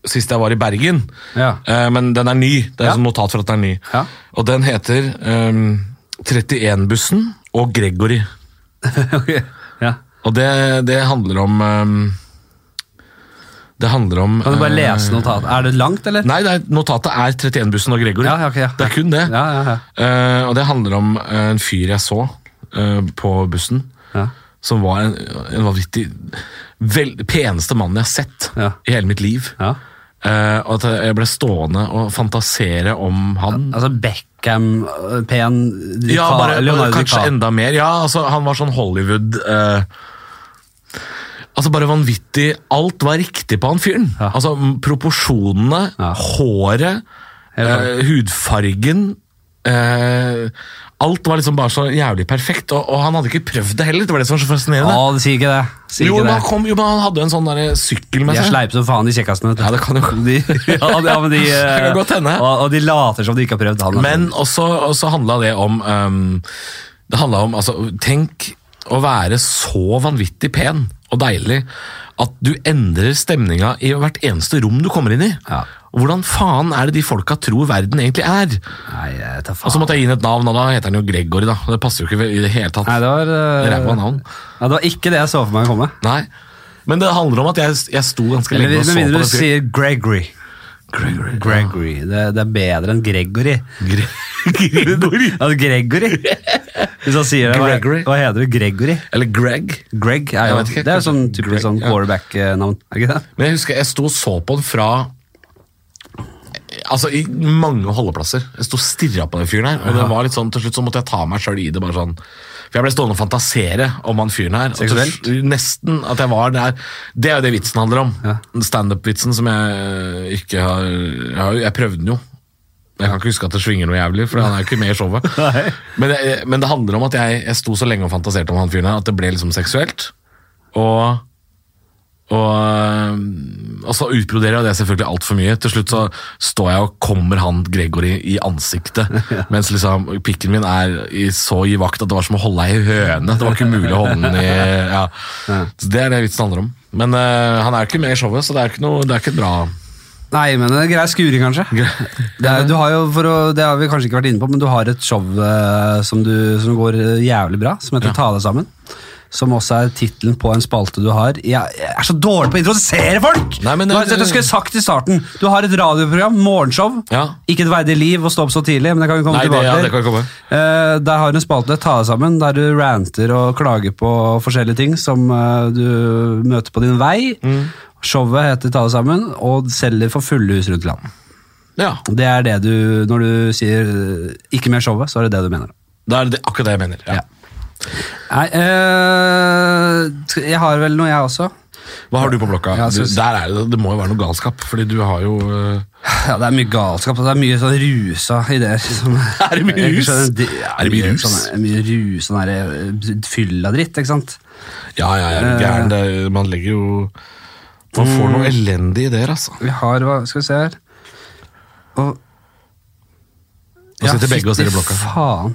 sist jeg var i Bergen.
Ja.
Eh, men den er ny. Det er
Ja.
et sånt notat for at den er ny.
Ja.
Og den heter eh, 31-bussen og Gregory.
Ok, ja.
Og det, det handler om eh, Det handler om
Kan du bare
eh,
lese notatet? Er det langt, eller?
Nei, nei, notatet er 31-bussen og Gregory.
Ja, ja, ok, ja.
Det er kun det.
Ja, ja, ja.
Eh, og det handler om eh, en fyr jeg så eh, på bussen,
Ja.
som var en, en vanvittig vel, peneste mann jeg har sett
Ja.
i hele mitt liv.
Ja.
Eh, og at jeg ble stående og fantasere om han.
Altså Beckham, eh, pen Dica-
Ja, bare, bare
Leonardo
kanskje
DiCaprio.
enda mer. Ja, altså, han var sånn Hollywood eh, Altså, bare vanvittig. Alt var riktig på han fyren.
Ja.
Altså, m- proporsjonene,
Ja.
håret,
Helt
eh, hudfargen eh, Alt var liksom bare så jævlig perfekt, og, og han hadde ikke prøvd det heller. Det var det som var så fascinerende.
Å, det sier ikke det. Sier
jo,
ikke
men
det.
han kom, jo, men han hadde en sånn der sykkel med
De er
seg.
sleipe som faen, de kjekkasene.
Ja, det kan jo
de, ja, de, ja, men de, eh,
Det kan godt hende.
Og, og de later som de ikke har prøvd han. altså.
Men også, også handla det om ehm, Det handla om altså, Tenk å være så vanvittig pen og deilig at du endrer stemninga i hvert eneste rom du kommer inn i.
Ja.
Hvordan faen er det de folka tror verden egentlig er?
altså. Nei, jeg tar
Og så
faen.
måtte jeg gi henne et navn, og da heter han jo Gregory, da. Det passer jo ikke i det hele tatt.
Nei, det var eh,
Ræva navn.
Ja, det var ikke det jeg så for meg å komme.
Nei. Men det handler om at jeg, jeg sto ganske
Eller,
lenge og
med
så på
mindre du
den fyren.
sier Gregory.
Gregory.
Gregory. Det, det er bedre enn Gregory.
Gre Gregory.
Altså Gregory. Hvis han sier det, hva,
Gregory.
hva heter du? Gregory?
Eller Greg.
Greg er jo
Jeg vet ikke,
Det er jo sånn
kanskje
typisk
Greg,
sånn
ja.
quarterback-navn. er det ikke det?
Men jeg husker jeg sto og så på den fra altså, i mange holdeplasser. Jeg sto og stirra på den fyren her. Og det var litt sånn, Til slutt så måtte jeg ta meg sjøl i det. bare sånn For jeg ble stående og fantasere om han fyren her. og til
Seksuelt?
sl- Nesten at jeg var der. Det er jo det vitsen handler om. Standup-vitsen som jeg ikke har Jeg, har, jo- jeg prøvde den jo. Jeg kan ikke huske at det svinger noe jævlig, for han er jo ikke med i showet.
Nei.
men, det, men det handler om at jeg, jeg sto så lenge og fantaserte om han fyren her at det ble liksom seksuelt. Og og, og så utbroderer jeg det selvfølgelig altfor mye. Til slutt så står jeg og kommer han Gregory i ansiktet, mens liksom pikken min er i så i vakt at det var som å holde ei høne. Det var ikke mulig å holde den i ja. Så Det er det vitsen handler om. Men eh, han er jo ikke med i showet, så det er ikke noe, det er ikke bra.
Nei, men en grei skuring, kanskje. Det, er, du har jo, for å, det har vi kanskje ikke vært inne på, men du har et show eh, som, du, som går eh, jævlig bra, som heter
Ja.
Ta deg sammen. Som også er tittelen på en spalte du har. Jeg, jeg er så dårlig på å introdusere folk!
Nei, men-
du har, dette skulle jeg sagt i starten. Du har et radioprogram, morgenshow.
Ja.
Ikke et verdig liv å stå opp så tidlig, men det kan vi komme
Nei, det-
tilbake
ja,
til.
det kan vi komme.
Eh, der har du en spalte, Ta deg sammen, der du ranter og klager på forskjellige ting som eh, du møter på din vei. Showet heter Ta deg sammen, og selger for fulle hus rundt i landet.
Ja,
Det er det du, når du sier eh, 'ikke mer showet', så er det det du mener.
Det er det, akkurat det jeg mener. Ja.
Ja. Nei, eh, skal- jeg har vel noe, jeg også.
Hva har du på blokka?
Ja, jeg
du,
synes-
der er det, det må jo være noe galskap, fordi du har jo eh,
Ja, Det er mye galskap, og det er mye sånn rusa ideer. Som,
Er det mye
Jeg
rus?
skjønner, de- ja,
Er det mye rus?
Sånn, mye rus, sånn der, eh, fylladritt, ikke sant.
Ja, ja, ja.
Eh. Mm.
Gæren. Det, er- man legger jo Man får noen elendige ideer, altså.
Vi har, hva skal vi se her og,
Nå sitter begge og ser i
fytti
blokka.
Faen.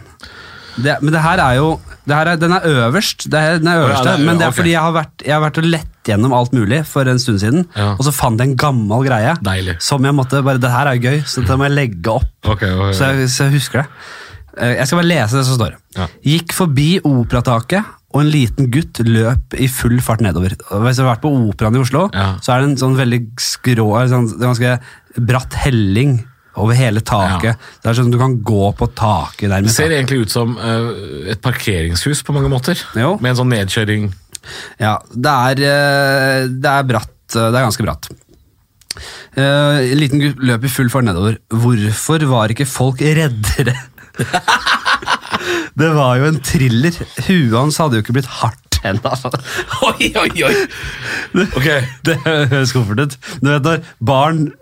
Det, men det her er jo det her er, Den er øverst, det her, den er
ja,
øverste,
det er-
men det er
ok.
fordi jeg har, vært, jeg har vært og lett gjennom alt mulig for en stund siden,
Ja.
og så fant jeg en gammel greie
Deilig.
som jeg måtte bare Det her er jo gøy, så det må jeg legge opp.
Ok, ok, ok.
Så, jeg, så jeg husker det. Eh, Jeg skal bare lese det som står.
Ja.
Gikk forbi operataket, og en liten gutt løp i full fart nedover. Og Hvis du har vært på operaen i Oslo,
Ja.
så er det en sånn veldig skrå, en sånn, det er ganske bratt helling over hele taket.
Ja.
Det er sånn at du kan gå på taket
Det
nærmest.
ser egentlig ut som eh, et parkeringshus på mange måter.
Jo.
Med en sånn nedkjøring.
Ja, det er, eh, det er bratt. eh, Det er ganske bratt. Eh, liten gutt løp i full fart nedover. Hvorfor var ikke folk reddere? det var jo en thriller. Huet hans hadde jo ikke blitt hardt ennå. altså.
Oi, oi, oi! Ok,
Det høres skuffelt ut. Du vet når barn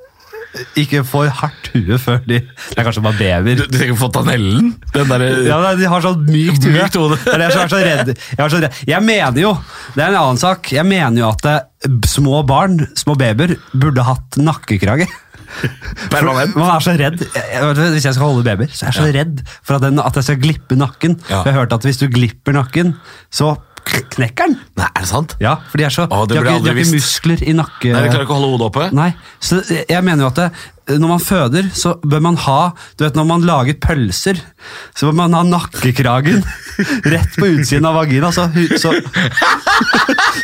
ikke får hardt hue før de Det er kanskje bare
Du,
babyer.
du tenker på fontanellen? Den derre
Ja, nei, de har sånn mykt hue.
Mykt hode.
Det er det Jeg, er så redd. jeg, er så redd. jeg mener jo, det er en annen sak, jeg mener jo at eh, b- små barn, små babyer, burde hatt nakkekrage. For
Permanent.
Man er så redd. Jeg- jeg vet ikke, Hvis jeg skal holde babyer, så er jeg så redd for at, den, at jeg skal glippe nakken.
Ja.
For jeg har hørt at hvis du glipper nakken, så k- knekker den.
Nei, er det sant?
Ja, for de, er så,
Å, det
de, har ikke,
burde jeg
de har
aldri
ikke
visst.
muskler i nakke...
Nei, De klarer ikke å holde hodet oppe?
Nei, så jeg jeg mener jo at det, når man føder, så bør man ha Du vet, når man lager pølser, så bør man ha nakkekragen rett på utsiden av vagina, så, hu- så,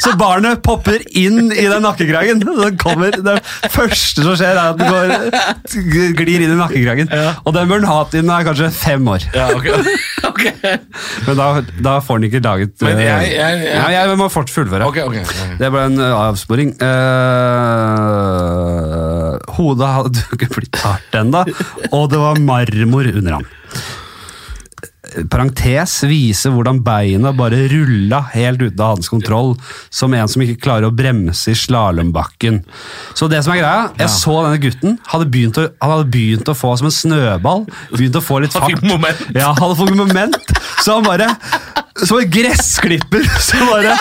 så barnet popper inn i den nakkekragen. Den kommer, det første som skjer, er at den går, glir inn i nakkekragen. Og den bør den ha til den er kanskje fem år.
Ja, ok. ok.
Men da, da får den ikke laget
Men
eh,
jeg- jeg- jeg-
ja, jeg må fort fullføre.
Ok, ok, ok.
Det ble en ø, avsporing. Eh, hodet hadde jo ikke blitt hardt ennå, og det var marmor under ham. Parentes viser hvordan beina bare rulla helt uten av hans kontroll, som en som ikke klarer å bremse i slalåmbakken. Så det som er greia, jeg så denne gutten, hadde begynt å, han hadde begynt å få som en snøball. Begynt å få litt
Han fikk
fart.
moment.
Ja, han hadde fått moment, så han bare Som en gressklipper, så bare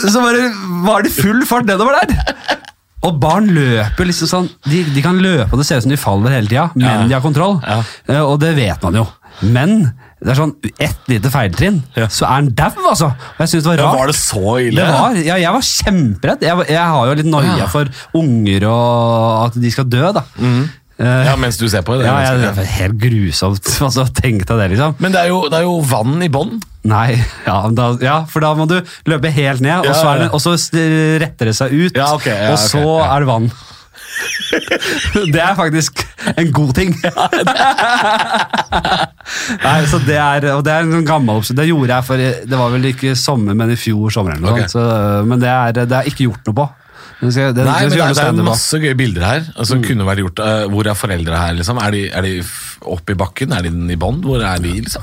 Så bare var det full fart nedover der. Og barn løper liksom sånn De, de kan løpe, og det ser ut som de faller hele tida, men
Ja.
de har kontroll.
Ja.
Eh, Og det vet man jo. Men det er sånn ett lite feiltrinn,
Ja.
så er han dau, altså. Og jeg synes det var
Ja,
rart.
var det så ille?
Det var, ja, jeg var kjemperedd. Jeg, var- jeg har jo litt noia
Ja.
for unger og at de skal dø, da. Eh,
Mm. Ja, mens du ser på det.
ja, ja, det
det.
er helt grusomt. Altså, Tenk deg det, liksom.
Men det er, jo, det er jo vann i bånn.
Nei, ja, men da, ja, for da må du løpe helt ned, og,
Ja,
så, er
ja.
det, og så st- retter det seg ut,
Ja, ok, ja,
og så
ok, ja.
er det vann. det er faktisk en god ting. Nei, så det er, og det er en sånn gammel oppskrift. Det gjorde jeg for Det var vel ikke sommer, men i fjor sommer. eller noe
Ok.
sånt, så, Men det er, det er ikke gjort noe på. Den skal, den, den
Nei, men
skal
det,
gjøre
er- det er
stand-up,
jo
da.
masse gøye bilder her. Altså, kunne vært gjort, eh, hvor er foreldre her? Liksom? Er de, er de f- oppe i bakken? Er de den i bånd? Hvor er de? Liksom?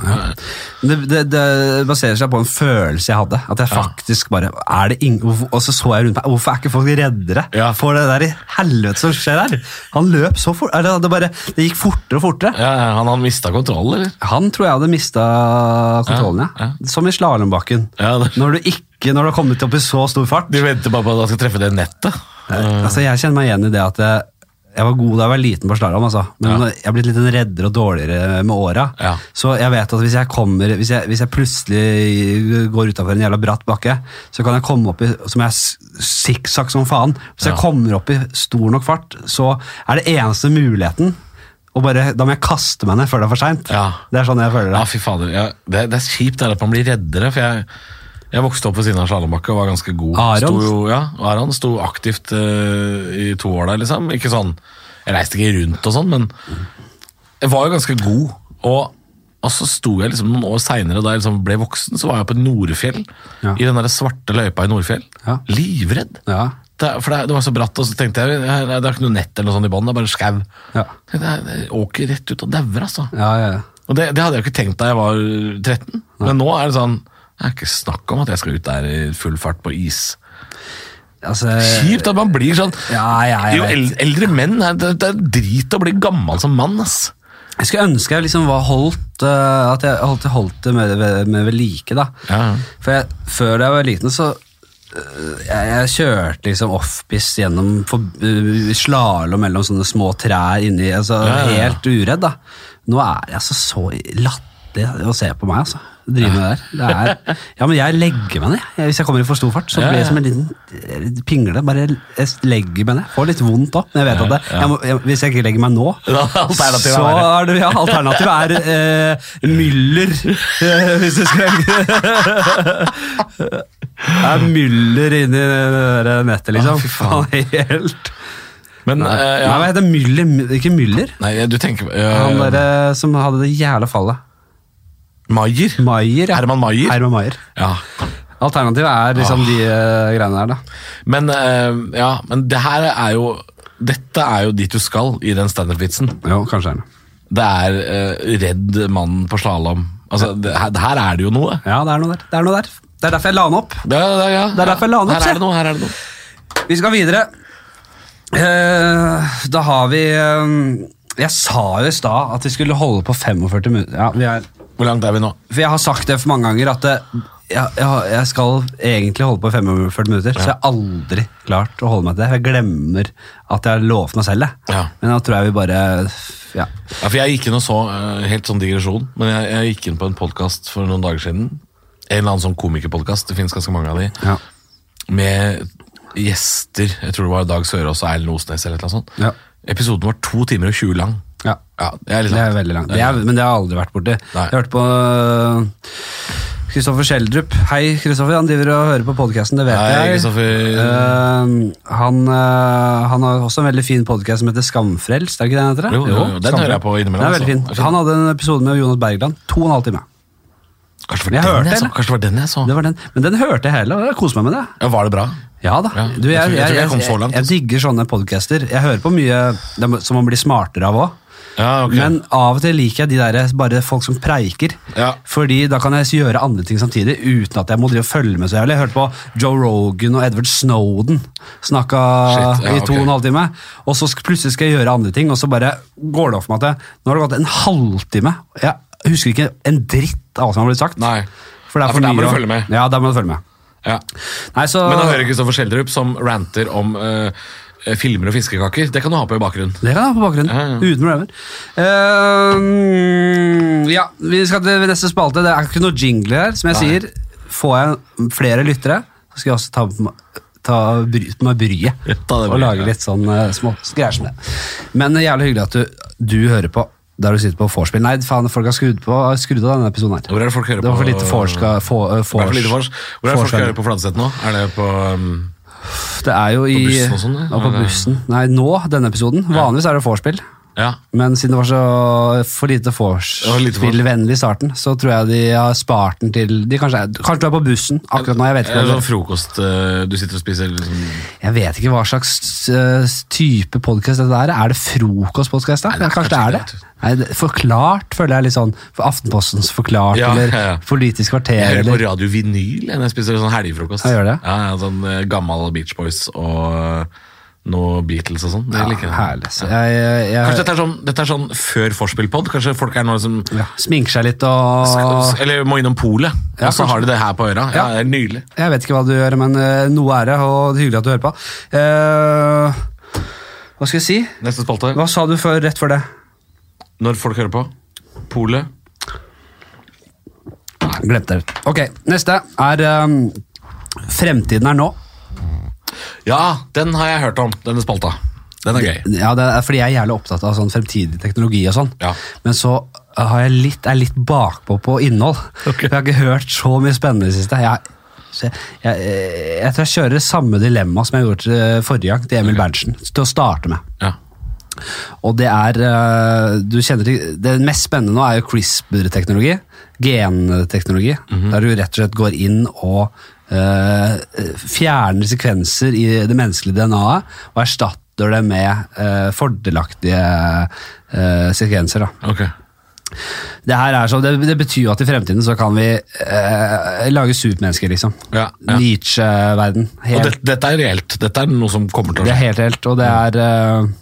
Det, det, det baserer seg på en følelse jeg hadde. At jeg faktisk bare er det ing hvorfor, Og så så jeg rundt meg. Hvorfor er ikke folk reddere
Ja.
for det der i helvete som skjer her? Han løp så fort. Eller, det, bare, det gikk fortere og fortere.
Ja, ja, han har mista kontroll, eller?
Han tror jeg hadde mista kontrollen, ja.
Ja,
Som i slalåmbakken.
Ja, det-
Når du ikke når du har kommet opp i så stor fart.
De venter bare på at han skal treffe det nettet. Eh.
Altså, jeg kjenner meg igjen i det at jeg, jeg var god da jeg var liten på slalåm, altså. men
Ja.
når jeg er blitt litt reddere og dårligere med åra.
Ja.
Så jeg vet at hvis jeg, kommer, hvis jeg, hvis jeg plutselig går utafor en jævla bratt bakke, så kan jeg komme opp i som jeg s- sikksakk som faen. Hvis
Ja.
jeg kommer opp i stor nok fart, så er det eneste muligheten å bare, Da må jeg kaste meg ned før det er for seint.
Ja.
Det er sånn jeg føler det.
Ja, fy fader. Ja, det, det er kjipt det er at man blir reddere, for jeg, jeg vokste opp ved siden av Slalåmbakke og var ganske god.
Aron?
Sto jo, ja, Aron sto aktivt eh, i to år der, liksom. Ikke sånn, jeg reiste ikke rundt og sånn, men jeg var jo ganske god. Og, og så sto jeg liksom noen år seinere, da jeg liksom ble voksen, så var jeg på Norefjell.
Ja.
I den der svarte løypa i Nordfjell.
Ja.
Livredd.
Ja.
Det, er- for det, er- det var så bratt, og så tenkte jeg "Her er- det er ikke noe nett eller noe sånt i bånn, det er bare skau.
Ja.
Jeg tenkte, Jeg åker rett ut og dauer, altså.
Ja, ja, ja.
Og det, det hadde jeg jo ikke tenkt da jeg var 13, men nå er det sånn Det er ikke snakk om at jeg skal ut der i full fart på is.
Altså,
Kjipt at man blir sånn.
Ja, ja, jeg
jo
vet.
el- eldre menn er, det, det er drit å bli gammel som mann, ass.
Jeg skulle ønske jeg liksom var holdt eh, At jeg holdt, holdt det med, med, med ved like da
Ja, ja.
For jeg, før jeg var liten så eh, jeg, jeg kjørte liksom offpist gjennom for, eh, slalom mellom sånne små trær inni, altså
Ja, ja, ja.
helt uredd da. Nå er jeg altså så lattig å se på meg altså, drive med det der. Det er, ja, men jeg legger meg ned. Jeg- Hvis jeg kommer i for stor fart, så
Ja,
blir
ja.
jeg som en liten eh, pingle, bare jeg legger meg ned. Får litt vondt også, men jeg vet at det, jeg må, jeg, hvis jeg ikke legger meg nå,
Ja, alternativet er
så
verre.
er det, ja, alternativet er eh, Müller. eh, hvis du skal Det er Müller inni det der nettet, liksom.
Ah, fy faen.
Han er helt
Men
Nei,
eh, ja.
hva heter Müller? Ikke Müller?
Nei, du tenker eh,
Han derre som hadde det jævla fallet.
Maier?
Maier, ja.
Herman Ah. Maier?
Herman Maier.
Ja.
Alternativet er liksom de eh, greiene der, da.
Men, eh, ja, men det her er jo Dette er jo dit du skal i den standup-vitsen.
Jo, kanskje er det.
Det er eh, redd mann på slalåm. Altså, det, her, her er det jo noe.
Ja, det er noe der. Det er noe der. Det er derfor jeg la den opp.
Det, er- det, er- ja.
Det er derfor jeg la den opp,
Her
se.
er det noe, her er det noe.
Vi skal videre. Eh, da har vi eh, Jeg sa jo i stad at vi skulle holde på 45 minutter. Ja, vi er,
Hvor langt er vi nå?
for jeg har sagt det for mange ganger at det, jeg, jeg, har- jeg skal egentlig holde på 45 minutter. Så jeg har aldri klart å holde meg til det. Jeg glemmer at jeg har lovet meg selv det.
Ja.
Men da tror jeg vi bare Ja.
Ja, for jeg gikk inn og så, eh, helt sånn digresjon, men jeg, jeg gikk inn på en podkast for noen dager siden. En eller annen sånn komikerpodkast, det finnes ganske mange av de.
Ja.
Med gjester, jeg tror det var Dag Sørås og Erlend Osnes eller et eller annet sånt.
Ja.
Episoden var to timer og 20 lang.
ja.
Ja, det er litt
Det
sånn, langt.
er veldig langt. Det er, men det har jeg aldri vært borti.
Nei.
Jeg hørte på øh, Kristoffer Schjelderup. Hei, Kristoffer. Han driver og hører på podkasten, det vet
Hei,
jeg.
Kristoffer.
Øh, han, øh, han har også en veldig fin podkast som heter Skamfrelst. Er det ikke den heter? det?
Jo, jo, jo, den
Skamfrelst.
hører jeg på innimellom,
Den er veldig
altså.
fin.
Det er fin.
Han hadde en episode med Jonas Bergland. To og en halv time.
Kanskje det
Jeg
var den
hørte,
jeg så.
eller?
Kanskje det var den jeg så.
Det var den. Men den hørte jeg hele, og jeg koste meg med det.
Ja, var det bra?
Ja da.
Ja,
Du, jeg, jeg,
jeg tror- jeg tror
jeg,
ikke jeg kom så langt,
jeg
altså.
digger sånne podcaster. Jeg hører på mye det må- som man blir smartere av òg.
Ja, ok.
Men av og til liker jeg de der bare folk som preiker.
Ja.
Fordi da kan jeg gjøre andre ting samtidig uten at jeg må drive og følge med så jævlig. Jeg hørte på Joe Rogan og Edward Snowden snakka
Shit, ja,
i to
ok.
og en halv time, og så sk- plutselig skal jeg gjøre andre ting, og så bare går det opp for meg at jeg, nå har det gått en halvtime. Jeg husker ikke en dritt av hva som har blitt sagt.
Nei.
For det
Ja,
er
for
for,
der må
mye
du
å-
følge med.
Ja, der må du følge med.
Ja.
Nei, så,
Men da hører Kristoffer Schjelderup som ranter om eh, filmer og fiskekaker. Det kan du ha på i bakgrunnen.
Det kan jeg ha på bakgrunnen.
Ja, ja.
Uten problemer. Ehm, ja, vi skal til neste spalte. Det er ikke noe jingle her. Som jeg
Nei.
sier, får jeg flere lyttere, så skal jeg også ta, på meg- ta bry, på meg bryet.
Ja, ta det
og
bryet,
lage
ja.
litt sånn eh, små greier som det. Men eh, jævlig hyggelig at du, du hører på der du sitter på vorspiel. Nei, faen, folk har skrudd, på, skrudd av denne episoden her.
Hvor er det folk hører
Det var for
på-
lite forska... For,
Det er for lite vors. Hvor er det folk skal gjøre på Fladseth nå? Er det på um,
Det er jo i
bussen og sånn, ja.
Ja, på
Eller-
bussen. Nei, nå, denne episoden. Vanligvis er det vorspiel.
Ja.
Men siden det var så for lite
var lite for-
vorspiel-vennlig i starten, så tror jeg de har spart den til de kanskje, er- kanskje du er på bussen akkurat nå. Jeg vet ikke,
Eller
hva,
sånn frokost eh, du sitter og spiser liksom.
jeg vet ikke hva slags eh, type podkast dette er. Er det frokostpodkast? da?
Nei, det er
kanskje det
kanskje
er det.
ikke det,
Nei, det- forklart føler jeg litt sånn for Aftenpostens Forklart
Ja,
eller
ja, ja.
Politisk
Jeg
kvarter
hører på
eller
radio vinyl jeg, når jeg spiser sånn helgefrokost.
Ja, gjør det?
Ja, ja, sånn eh, Gammel Beach Boys og eh, noe Beatles og sånn. Det
ja,
liker jeg.
Herlig. Så jeg, jeg,
Kanskje
jeg,
dette er sånn, dette er sånn før Forspill-pod? Kanskje folk er nå som
ja, sminker seg litt og
Eller må innom polet,
Ah. Ja,
og så
kanskje.
har de det her på øra. Ja, det er Nydelig.
Jeg vet ikke hva du gjør, men eh, noe er det, og hyggelig at du hører på. Eh, hva skal jeg si?
Neste spalte.
Hva sa du før, rett før det?
Når folk hører på. Polet.
Glemte det. Ok, neste er ehm, Fremtiden er nå.
Ja, den har jeg hørt om, denne spalta. Den er gøy.
Ja, det er fordi jeg er jævlig opptatt av sånn fremtidig teknologi og sånn.
Ja.
Men så har jeg litt, er jeg litt bakpå på innhold.
Ok.
Jeg har ikke hørt så mye spennende i det siste. Jeg, så jeg, jeg, jeg tror jeg kjører samme dilemma som jeg gjorde eh, forrige gang til Emil Berntsen, til å starte med.
Ja.
Og det er eh, du kjenner, til- Det mest spennende nå er jo CRISPR-teknologi. Genteknologi.
Mhm.
Der du rett og slett går inn og eh, fjerner sekvenser i det menneskelige DNA-et og erstatter det med eh, fordelaktige eh, sekvenser. da.
Ok.
Det, her er så, det, det betyr jo at i fremtiden så kan vi eh, lage supermennesker, liksom.
Ja, ja.
Nietzsche-verden.
Og
Helt
det, dette er reelt. Dette er noe som kommer til å
det
skje.
er helt helt, og det er eh,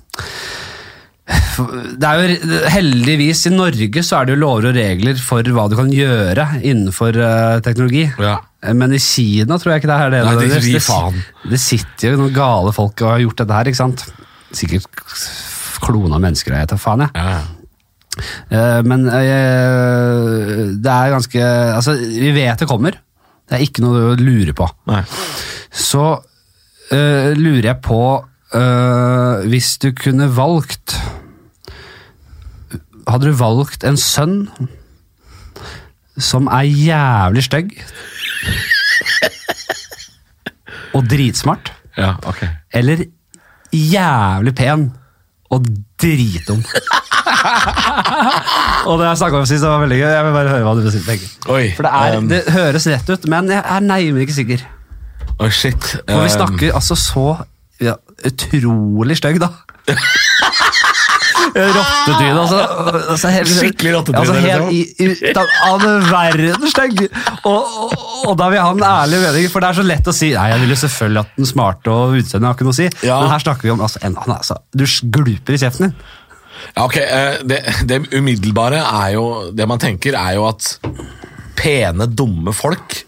det er jo Heldigvis, i Norge så er det jo lover og regler for hva du kan gjøre innenfor eh, teknologi. Eh,
Ja.
Men i Kina tror jeg ikke det er det.
Nei, det
nødvendigvis.
gir
det,
faen.
det sitter jo noen gale folk og har gjort dette her, ikke sant? Sikkert klona mennesker, jeg tar faen, jeg.
Ja, ja.
Eh, Men eh, det er ganske Altså, vi vet det kommer. Det er ikke noe du lurer på
Nei.
så øh, lurer jeg på øh, Hvis du kunne valgt Hadde du valgt en sønn som er jævlig stygg og dritsmart,
Ja, ok.
eller jævlig pen og dritdum? og det jeg snakka om sist, det var veldig gøy. Jeg vil bare høre hva du tenker.
Oi,
For det, er,
ehm.
det høres rett ut, men jeg er nærmere ikke sikker.
Oi, shit.
For
Eh,
vi snakker altså så ja, utrolig stygg, da. Rottetryne, altså. altså helt,
Skikkelig rottetryne,
Altså helt
liksom.
i, ut av all verden stygg! Og, og, og da vil jeg ha en ærlig mening, for det er så lett å si Nei, jeg ville selvfølgelig hatt den smarte og utseendet har ikke noe å si,
Ja.
men her snakker vi om altså, en, han, er altså, Du gluper i kjeften din.
Ja, ok, eh, det, det umiddelbare er jo Det man tenker er jo at pene, dumme folk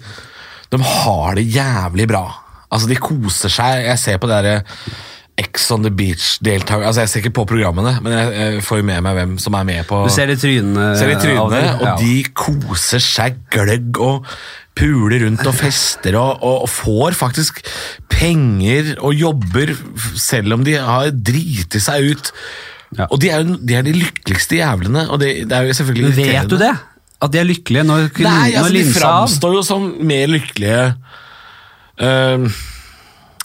De har det jævlig bra. Altså, de koser seg. Jeg ser på det derre Ex on the beach-deltaker Altså, jeg ser ikke på programmene, men jeg, jeg får jo med meg hvem som er med på
Du ser i trynene.
Ser
Eh,
de
av
trynene,
det,
og
ja.
de koser seg gløgg og puler rundt og fester og, og, og får faktisk penger og jobber f- selv om de har driti seg ut.
Ja.
Og de er, jo- de er de lykkeligste jævlene, og det, det er jo selvfølgelig
Men Vet du
irriterende.
det? At de er lykkelige når,
Nei,
når
altså, de
linsa av?
framstår jo som mer lykkelige Ehm,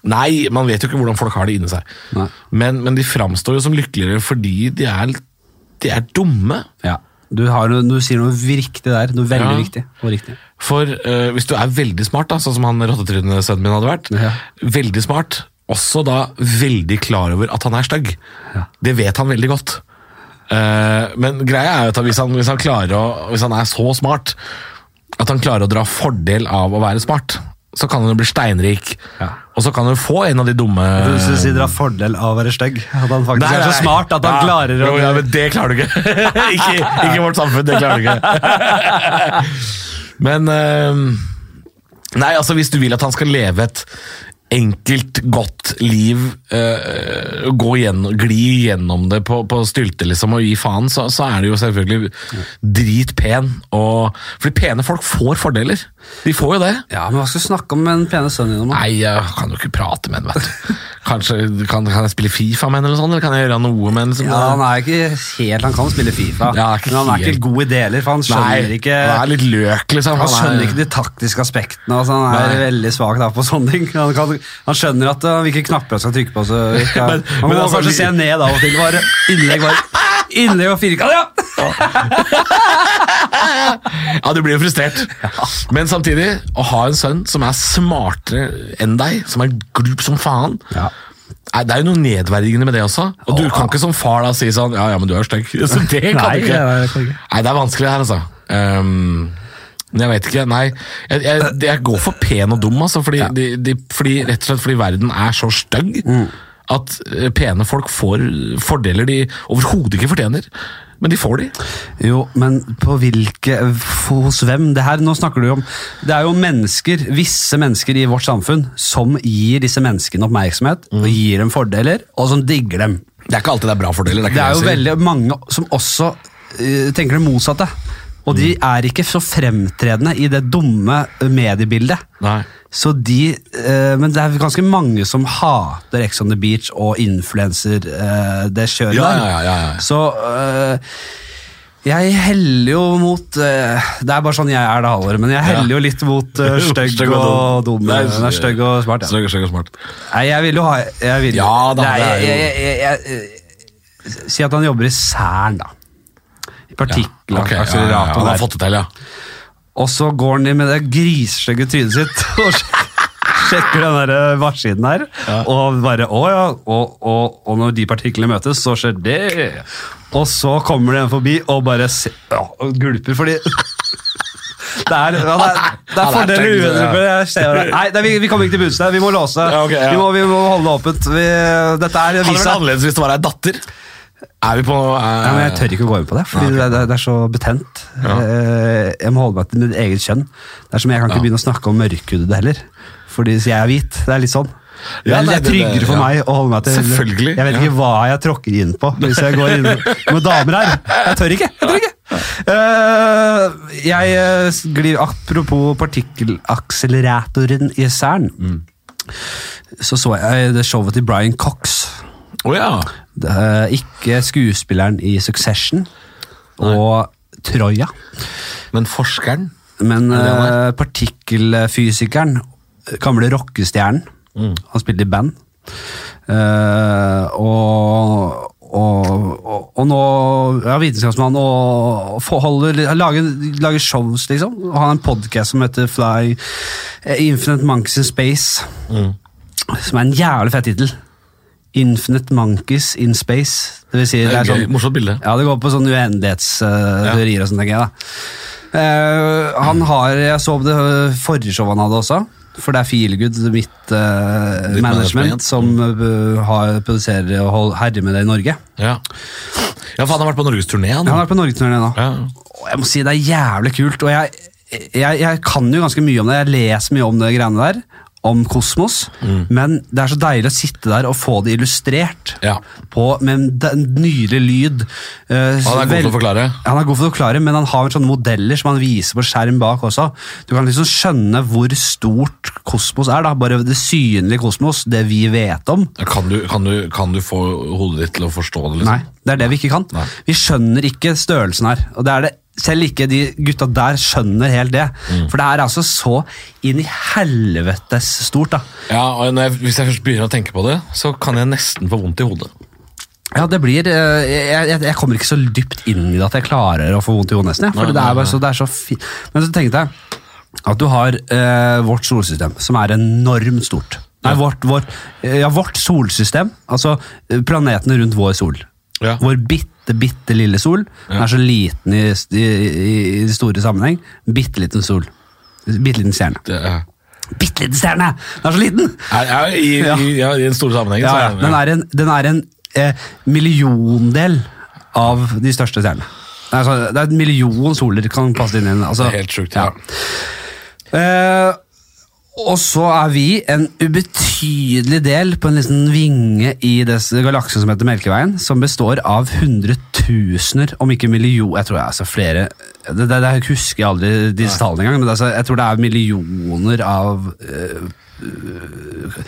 Nei, man vet jo ikke hvordan folk har det inni seg.
Nei.
Men, men de framstår jo som lykkeligere fordi de er, de er dumme.
Ja. Du, har, noe- du sier noe riktig der. Noe veldig
Ja.
viktig og riktig.
For eh, hvis du er veldig smart, da, sånn som han rottetrynesønnen min hadde vært,
Ja.
veldig smart, også da veldig klar over at han er stygg. Det vet han veldig godt. Eh, men greia er jo at hvis han, hvis, han klarer å, hvis han er så smart at han klarer å dra fordel av å være smart, så kan han jo bli steinrik.
Ja.
Og så kan han jo få en av de dumme
Du synes de drar fordel av å være stygg. At han faktisk
Eh, Nei,
er så
nei.
smart at han
Ja,
klarer å
jo, ja, men Det klarer du ikke. ikke. Ikke i vårt samfunn, det klarer du ikke. men ehm, Nei, altså hvis du vil at han skal leve et enkelt, godt liv, eh, gå gjennom, gli gjennom det på, på stylte liksom, og gi faen, så, så er det jo selvfølgelig dritpen. Og, fordi pene folk får fordeler. De får jo det.
Ja, men hva skal du snakke om med den pene sønnen din om? da?
Nei, jeg kan jo ikke prate med den, vet du. Kanskje, kan, kan jeg spille Fifa med den, eller, sånn, eller kan jeg gjøre noe med den? Liksom?
Ja, han er ikke helt, han kan spille Fifa,
Ja, ikke
men han er
helt.
ikke god i deler, for han skjønner
Nei,
ikke
han er litt løk, liksom.
han skjønner ikke
er,
de taktiske aspektene. Altså han er
Nei.
veldig svak da, på sånne ting. Han, kan, han eh, skjønner at uh, hvilke knapper han skal trykke på. Så, ikke-
Men-
han må
men altså,
kanskje
vi-
se ned av og til. Bare innlegg, bare Inni og firkant, ja!
Ja, du blir jo frustrert. Men samtidig, å ha en sønn som er smartere enn deg, som er glup som faen
Ja.
Nei, Det er jo noe nedverdigende med det også. Og du kan ikke som far da si sånn Ja, ja, men du er stygg. Så det kan
Nei, det
du ikke.
er- det kan du ikke.
Nei, det er vanskelig her, altså. Ehm, men jeg vet ikke. Nei, jeg, jeg, jeg går for pen og dum, altså. Fordi, de, de, fordi, rett og slett fordi verden er så stygg
Mm.
at eh, pene folk får fordeler de overhodet ikke fortjener. Men de får de.
Jo, men på hvilke Hos hvem? Det her, nå snakker du jo om Det er jo mennesker, visse mennesker i vårt samfunn, som gir disse menneskene oppmerksomhet, og gir dem fordeler, og som digger dem.
Det er ikke alltid det er bra fordeler.
Det er jo
jeg sier.
veldig mange som også eh, tenker det motsatte. Og de er ikke så fremtredende i det dumme mediebildet.
Nei.
Så de, eh, Men det er ganske mange som hater Ex on the Beach og influenser eh, det kjøret
Ja,
der.
ja, ja, ja, ja.
Så eh, jeg heller jo mot eh, Det er bare sånn jeg er det halvåret, men jeg heller jo litt mot uh, stygg
Stygg
og dum.
Nei,
Nei, stygg og smart, ja.
Stygg og, stygg og smart.
Nei, jeg vil jo ha jeg vil,
Ja da,
Nei,
det er jo-
jeg, jeg, jeg, jeg, jeg, Si at han jobber i Cern, da. I partikler.
Ok, ja, ja, ja,
akselerator
Han
der.
har fått det til, ja.
Og så går han inn med det grisstygge trynet sitt og sjekker den der eh, varsiden her. Og bare Å ja. Og, og, og når de partiklene møtes, så skjer det. Og så kommer det en forbi og bare se, ja, og gulper, fordi det er, ja, det er, det er
Han
fordeler
er
og
tenkt, ja.
ulemper. jeg ser det. Nei, det er, vi, vi kommer ikke til bunns der. Vi må låse.
Ja, ok, ja.
vi, må, vi må holde det åpent. Vi, dette er
Hadde vært
visa.
annerledes hvis det var ei datter. Er vi på eh,
Ja, men jeg tør ikke å gå inn på det, fordi det, er- det er så betent. Eh, Jeg må holde meg til mitt eget kjønn. Det er som Jeg kan ikke
Ja.
begynne å snakke om mørkhudede heller, Fordi så jeg er hvit. Det er litt sånn. Det
Ja,
er, det
nei,
er
det- det-
tryggere for
ja.
meg å holde meg til
Selvfølgelig,
Jeg vet
ja.
ikke hva jeg tråkker inn på hvis jeg går inn med damer her. Jeg tør ikke! Jeg tør ikke. Eh, jeg eh, glir Apropos partikkelakseleratoren i Cern,
Mm.
så så jeg eh, det showet til Brian Cox.
Å ja.
Det er ikke skuespilleren i Succession og Troja,
Men forskeren
men
det han
eh, partikkelfysikeren, gamle rockestjernen.
Mm.
Han spilte i band. Eh, og, og, og, og nå er han vitenskapsmann og får- holder, lager, lager shows, liksom. Og har en podkast som heter Fly eh, Infinite Monkeys in Space,
Mm.
som er en jævlig fett tittel. Infinite Monkeys in Space. Det vil si, det
Det
er
er gøy.
sånn
Morsomt bilde.
ja, det går på sånne uendelighetsteorier og sånne ting. Da. Eh, han har, jeg så det eh, forrige showet han hadde også, for det er Feelgood, mitt eh, management,
Ditt management,
som eh, har, produserer og hold- herrer med det i Norge.
Ja. ja, for han har vært på norgesturné, han.
Han er på norgesturné nå.
Ja.
Og Jeg må si det er jævlig kult, og jeg, jeg, jeg kan jo ganske mye om det. Jeg leser mye om det greiene der, om kosmos,
Mm.
men det er så deilig å sitte der og få det illustrert
Ja.
på, med en d- nydelig lyd. eh,
Han er god
vel-
til å forklare.
Han er god til å forklare, men han har sånne modeller som han viser på skjerm bak også. Du kan liksom skjønne hvor stort kosmos er, da. bare det synlige kosmos, det vi vet om.
Kan, du, kan, du, kan du få hodet ditt til å forstå det? liksom?
Nei, det er det vi ikke kan.
Nei.
Vi skjønner ikke størrelsen her. Og det er det, selv ikke de gutta der skjønner helt det. For det er altså så inn i helvetes stort, da.
Ja, og når jeg, Hvis jeg først begynner å tenke på det, så kan jeg nesten få vondt i hodet.
Ja, det blir eh, Jeg, jeg, jeg kommer ikke så dypt inn i det at jeg klarer å få vondt i hodet, nesten. jeg, Fordi
Nei,
det
nei,
er bare så, det er så fi Men så tenkte jeg at du har eh, vårt solsystem, som er enormt stort. Nei, vårt, vår, eh, ja, vårt solsystem, altså eh, planetene rundt vår sol.
Ja.
Vår bitte, bitte lille sol. Den er så liten i, i, i, i store sammenheng. Bitte liten sol. Bitte liten stjerne.
Det er,
Bitte liten stjerne! Den er så liten!
er, er, i,
Ja.
i, ja, I den store sammenhengen.
Ja,
så
ja. Den er en, den er en eh, milliondel av de største stjernene. Det er, sånn- det er en million soler kan passe inn i den. Altså,
Det er helt sjukt, ja.
Eh, og så er vi en ubetydelig del på en liten vinge i dess galakse som heter Melkeveien, som består av hundretusener, om ikke million... Jeg tror det er altså flere det, det, det husker jeg aldri disse tallene engang, men det er, altså- jeg tror det er millioner av eh, eh,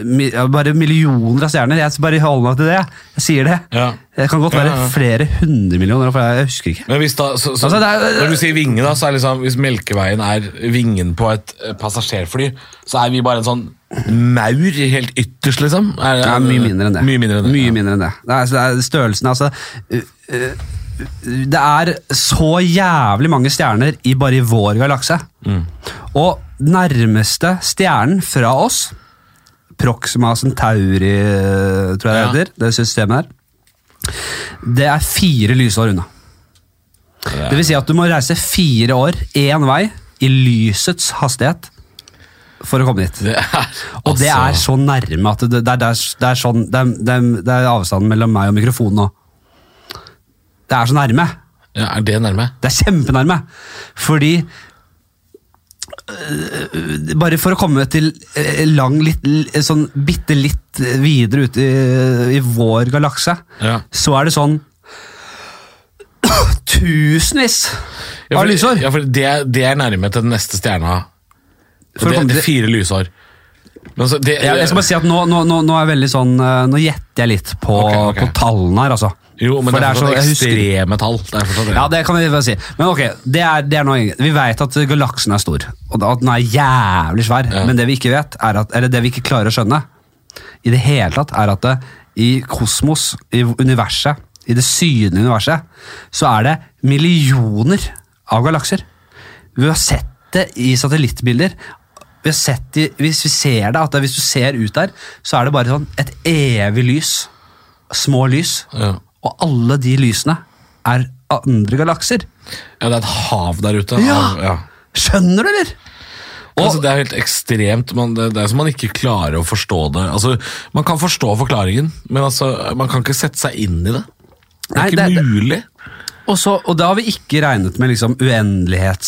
mi, ja, Bare millioner av stjerner. Jeg bare holder meg til det. Jeg sier det.
Ja.
Det kan godt
Ja,
være
ja, ja.
flere hundre millioner, for jeg, jeg husker ikke.
Men hvis da, så, så,
Altså, det er-
Når du sier vinge, da, så er liksom, hvis Melkeveien er vingen på et eh, passasjerfly, så er vi bare en sånn maur helt ytterst, liksom. Er,
Det er mye mindre enn det.
Mye mindre enn det.
Mye
ja.
mindre enn det. Det er, så det er størrelsen, altså. uh, uh, Det er så jævlig mange stjerner i bare i vår galakse.
Mm.
Og nærmeste stjernen fra oss, Proxima Centauri, uh, tror jeg
Ja.
det heter, det systemet der, det er fire lysår unna.
er-
Det vil si at du må reise fire år én vei i lysets hastighet for å komme dit.
Det er,
Og det er så
altså-
nærme at det, det, er, det, er, det, er sånn, det, er, det, er, det er avstanden mellom meg og mikrofonen nå. Det er så nærme.
ja, Er det nærme?
Det er kjempenærme. Fordi øh, Bare for å komme til øh, lang, litt, l- sånn bitte litt videre ut i, i vår galakse,
Ja.
så er det sånn Tusenvis
Ja,
av lysår!
Ja, for det, er- det er nærme til den neste stjerna. Og
For å
det,
komme
det
til-
er fire lysår. Men altså, det,
Jeg, jeg skal bare si at nå, nå, nå, nå er jeg veldig sånn eh, Nå gjetter jeg litt på,
Ok, ok.
på tallene her, altså.
Jo, men
For
det er sånn
så-
fortsatt
jeg husker-
ekstreme tall. Det er fortsatt,
Ja, det kan vi vel si. Men ok, det er, det er noe, ingen- vi vet at galaksen er stor, og at den er jævlig svær.
Ja.
Men det vi ikke vet, er at, eller det vi ikke klarer å skjønne, i det hele tatt, er at det, i kosmos, i universet, i det synlige universet, så er det millioner av galakser. Vi har sett det i satellittbilder. Vi har sett det, hvis vi ser det, at det, hvis du ser ut der, så er det bare sånn et evig lys. Små lys.
Ja.
Og alle de lysene er andre galakser.
ja, det er et hav der ute.
Ja.
Av, ja.
Skjønner du, eller? Og-
altså, det er helt ekstremt. Man, det, det er som man ikke klarer å forstå det. Altså, man kan forstå forklaringen, men altså, man kan ikke sette seg inn i det. Det er
Nei,
ikke
det er- det-
mulig.
Og, så, og da har vi ikke regnet med liksom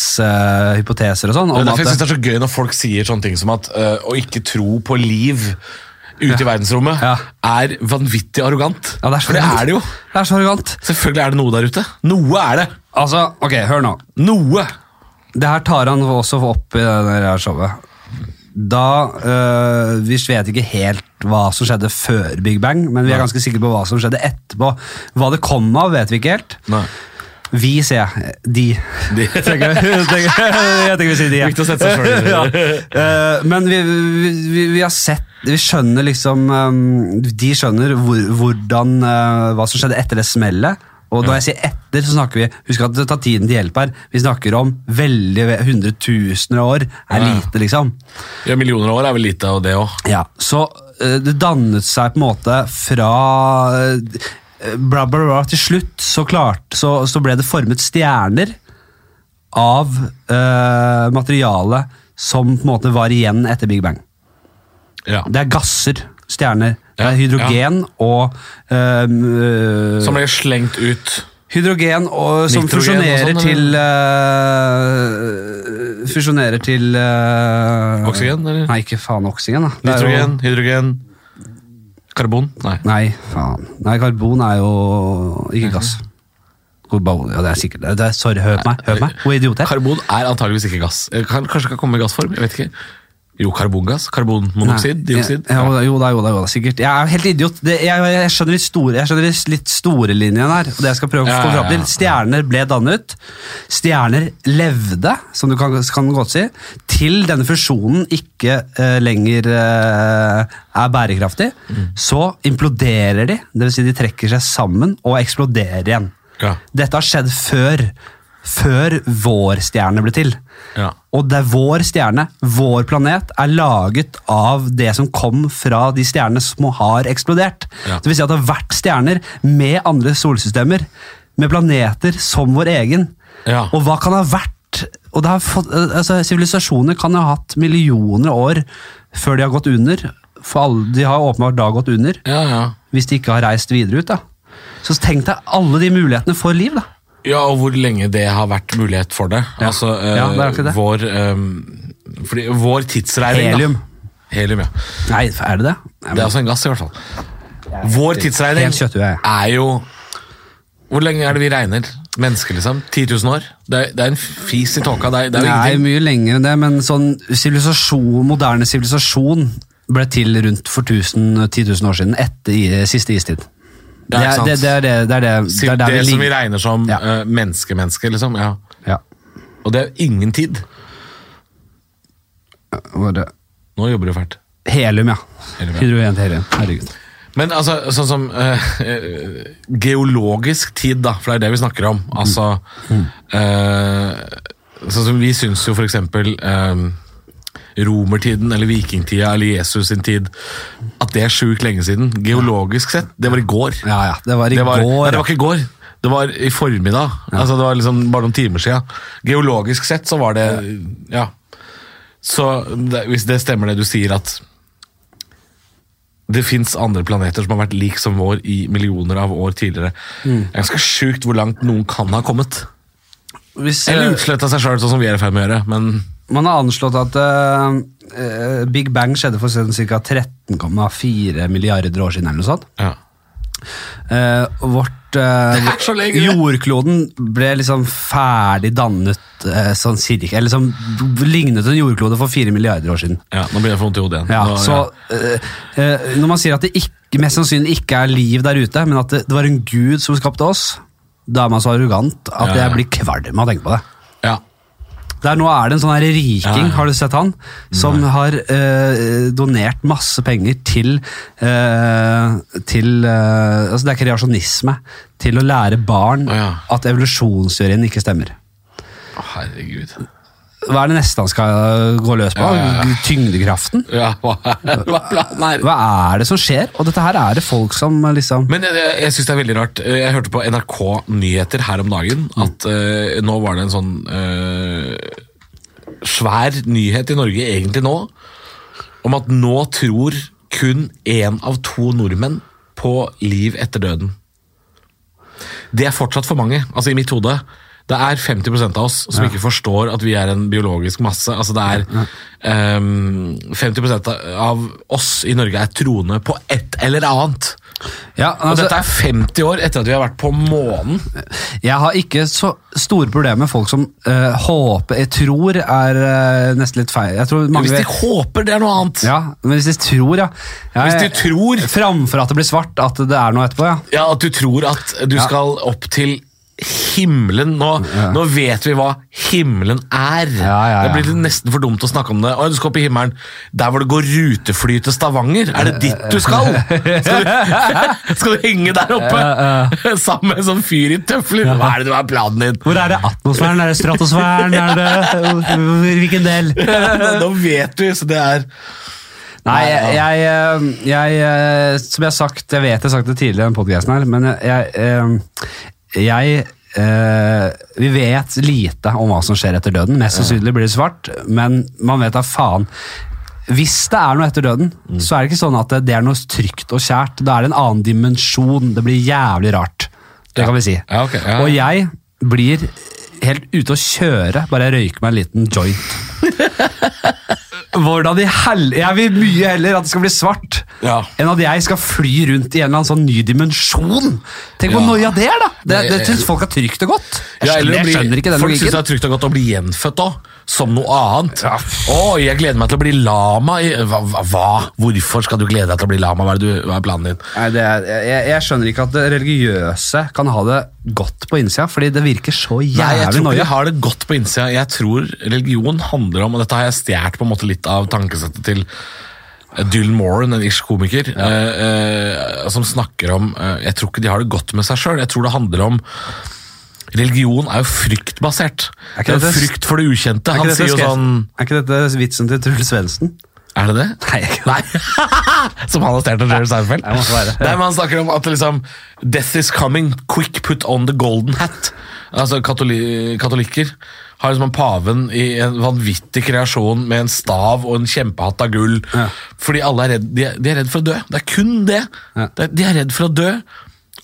uendelighetshypoteser og sånn.
Det
om
er derfor jeg
at-
synes det er så gøy når folk sier sånne ting som at øh, å ikke tro på liv ute i verdensrommet
Ja.
er vanvittig arrogant.
Ja, det er så
For det
arrogant.
er det jo.
Det er så arrogant.
Selvfølgelig er det noe der ute. Noe er det.
Altså, ok, hør nå.
Noe.
Det her tar han også opp i det her showet. Da øh, Vi vet ikke helt hva som skjedde før Big Bang, men vi er ganske sikre på hva som skjedde etterpå. Hva det kom av, vet vi ikke helt.
Nei.
Vi, sier jeg. De.
De,
Tenker, tenker, jeg tenker vi sier de. ja.
Viktig å sette seg selv i det.
ja. Eh, Men vi, vi, vi, vi har sett Vi skjønner liksom ehm, De skjønner hvor, hvordan eh, hva som skjedde etter det smellet. Og når jeg sier etter, så snakker vi Husk at det tar tiden til hjelp her. Vi snakker om veldig hundretusener av år. er
Ja.
lite, liksom.
ja, millioner av år er vel lite av det òg.
Ja, Så eh, det dannet seg på en måte fra eh, bla, bla, bla, Til slutt så, klart, så, så ble det formet stjerner av eh, materiale som på en måte var igjen etter Big Bang.
Ja.
Det er gasser, stjerner. Det
Ja,
er hydrogen og ehm, øh,
Som ble slengt ut.
Hydrogen og, som
Nitrogen og
fusjonerer
sånn,
til øh, Fusjonerer til øh,
Oksygen, eller?
Nei, ikke faen oksygen, da. Det er jo-
Nitrogen, hydrogen Karbon? Nei.
Nei, faen. Nei, karbon er jo
Mhm.
ikke gass. Karbon, Ja, det er sikkert. Det er, sorry, hør på meg. Hør på meg. Hvor idiot jeg er.
Karbon er antageligvis ikke gass. Eh, Kan, kanskje kan komme i gassform? jeg vet ikke. Jo, karbongass. Karbonmonoksid?
Nei,
Dioksid?
Ja, jo, da, jo da, jo da, jo da, sikkert. Jeg er helt idiot. Det, jeg, jeg, skjønner de store, jeg skjønner de litt store linjene her. og det jeg skal prøve å
Ja,
få
ja,
fram til.
ja.
Stjerner ble dannet. Stjerner levde, som du kan, kan godt si, til denne fusjonen ikke eh, lenger eh, er bærekraftig.
Mm.
Så imploderer de, dvs. Si de trekker seg sammen og eksploderer igjen.
Ja.
Dette har skjedd før, før vår stjerne ble til.
Ja.
Og det er vår stjerne, vår planet, er laget av det som kom fra de stjernene som har eksplodert.
Ja.
Det vil si at det har vært stjerner med andre solsystemer, med planeter som vår egen.
Ja.
Og hva kan det ha vært? Og det har fått, altså, sivilisasjoner kan ha hatt millioner av år før de har gått under. For alle, de har åpenbart da gått under,
ja, ja.
hvis de ikke har reist videre ut. da. Så tenk deg alle de mulighetene for liv, da.
Ja, og hvor lenge det har vært mulighet for det.
Ja.
Altså, eh,
Ja, det er akkurat det.
Vår, eh, fordi, vår tidsregning
Helium.
Da. Helium, ja.
Nei, er det det? Nei,
Det er
men-
altså en gass, i hvert fall. Vår tidsregning
Helt kjøtthue, jeg.
er jo Hvor lenge er det vi regner? Mennesker, liksom? 10 000 år? Det er, det er en fis i tåka. Det er, det er jo
Nei,
ingenting.
mye lenger enn det, men sånn sivilisasjon, moderne sivilisasjon ble til rundt for 1000, 10 000 år siden, etter i, siste istid. Det
Ja, ikke
er
sant.
det, det, er det, det, er det, det,
Det,
er der vi
som vi
ligger.
regner som
Ja.
eh, menneske-menneske, liksom. Ja.
Ja.
Og det er jo ingen tid.
Bare
Nå jobber du fælt.
Helium, ja.
Helium, ja.
Hydrogen til helium. Herregud.
Men altså, sånn som eh, eh, geologisk tid, da, for det er det vi snakker om. Altså, eh, sånn som vi syns jo for eksempel eh, romertiden eller vikingtida eller Jesus sin tid, at det er sjukt lenge siden. Geologisk sett, det var i går.
Ja, ja. Det var i
det var,
går.
Nei, det
ja.
var ikke i går. Det var i formiddag. Altså, det var liksom bare noen timer siden. Geologisk sett så var det Ja. Så det, hvis det stemmer det du sier, at det fins andre planeter som har vært lik som vår i millioner av år tidligere.
Mm.
Det er ganske sjukt hvor langt noen kan ha kommet.
Hvis,
Eller
eh,
utsletta seg sjøl, sånn som vi er i ferd med å gjøre. Men
Man har anslått at eh, eh, Big Bang skjedde for sånn ca. 13,4 milliarder år siden. eller noe sånt.
ja.
Eh, vårt eh,
Det er så lenge, det.
Jordkloden ble liksom ferdig dannet eh, sånn cirka Eller som lignet en jordklode for 4 milliarder år siden.
ja nå blir jeg for vondt i hodet igjen.
Ja,
nå,
så eh, eh, Når man sier at det ikke, mest sannsynlig ikke er liv der ute, men at det, det var en gud som skapte oss, da er man så arrogant at
Ja, ja.
jeg blir kvalm av å tenke på det.
ja.
Der nå er det en sånn her
Ja,
riking,
ja.
har du sett han? Som har eh, donert masse penger til eh, Til eh, Altså, det er ikke reaksjonisme. Til å lære barn
Å, ja.
at evolusjonsteorien ikke stemmer.
Å, Herregud.
Hva er det neste han skal eh, gå løs på?
Ja, ja, ja.
Tyngdekraften?
Ja, hva, hva er planen her?
Hva er det som skjer? Og dette her er det folk som eh, liksom
Men jeg, jeg- jeg synes det er veldig rart. Jeg hørte på NRK Nyheter her om dagen at eh, nå var det en sånn eh, svær nyhet i Norge, egentlig nå, om at nå tror kun én av to nordmenn på liv etter døden. Det er fortsatt for mange, altså i mitt hode. Det er 50 av oss som ikke forstår at vi er en biologisk masse. Altså det er ehm, 50 av oss i Norge er troende på et eller annet.
Ja,
Og
altså,
dette er 50 år etter at vi har vært på månen.
jeg har ikke så store problemer med folk som eh, håper Jeg tror er eh, nesten litt feil. Jeg tror mange
Hvis de håper, det er noe annet.
Ja, men hvis de tror, ja. ja
Hvis de
jeg-
tror
Framfor at det blir svart, at det er noe etterpå, ja.
ja, at du tror at du skal opp til himmelen nå, nå vet vi hva himmelen er.
ja, ja.
Det blir nesten for dumt å snakke om det. Å, du skal opp i himmelen. Der hvor det går rutefly til Stavanger. Er det dit du skal? Skal du, skal du henge der oppe sammen med en sånn fyr i tøfler? Hva er det du har planen din?
Hvor er det atmosfæren? Er det stratosfæren? Er det Hvilken del?
Nå vet vi, så det er
Nei, jeg, eh, jeg, jeg Som jeg har sagt, jeg vet jeg har sagt det tidligere i den podcasten her, men jeg, jeg, jeg eh, vi vet lite om hva som skjer etter døden. Mest sannsynlig blir det svart, men man vet da faen. Hvis det er noe etter døden,
Mm.
så er det ikke sånn at det, det er noe trygt og kjært. Da er det en annen dimensjon. Det blir jævlig rart. Det kan vi si.
Ja, ok, ja.
Og jeg blir helt ute å kjøre, bare jeg røyker meg en liten joint. Hvordan i hel... Jeg vil mye heller at det skal bli svart,
Ja.
enn at jeg skal fly rundt i en eller annen sånn ny dimensjon. Tenk hvor
Ja.
noia det er, da! Det, det
Nei,
syns folk er trygt og godt. Jeg
Ja, eller
skjønner,
å bli-
jeg skjønner ikke den
Folk syns det
logikken.
er trygt og godt å bli gjenfødt òg, som noe annet. Å, jeg gleder meg til å bli lama. i- Hva, hva- hva? Hvorfor skal du glede deg til å bli lama? Hva er, det du, hva er planen din?
Nei, det er, jeg, jeg skjønner ikke at det religiøse kan ha det godt på innsida, fordi det virker så
Nei, jeg
jævlig
tror ikke de
noia.
har det godt på innsida. Jeg tror religion handler om, og dette har jeg stjålet på en måte litt av tankesettet til eh, Dylan Moran, en irsk komiker, eh, eh, som snakker om eh, Jeg tror ikke de har det godt med seg sjøl. Jeg tror det handler om Religion er jo fryktbasert.
Er ikke
det er
dette-
frykt for det ukjente.
Er
Han
ikke, dette
sier jo
skrevet-
sånn
er ikke dette vitsen til Truls Svendsen?
Er det det?
Nei, jeg-
Som han har stjålet av Jerry Seinfeld?
det måtte være.
Nei, men Han snakker om at liksom, death is coming, quick put on the golden hat. Altså katoli Katolikker har liksom en paven i en vanvittig kreasjon med en stav og en kjempehatt av gull. Fordi alle er redd, de, er, de er redd for å dø. Det er kun det.
Ja.
Det er- De er redd for å dø,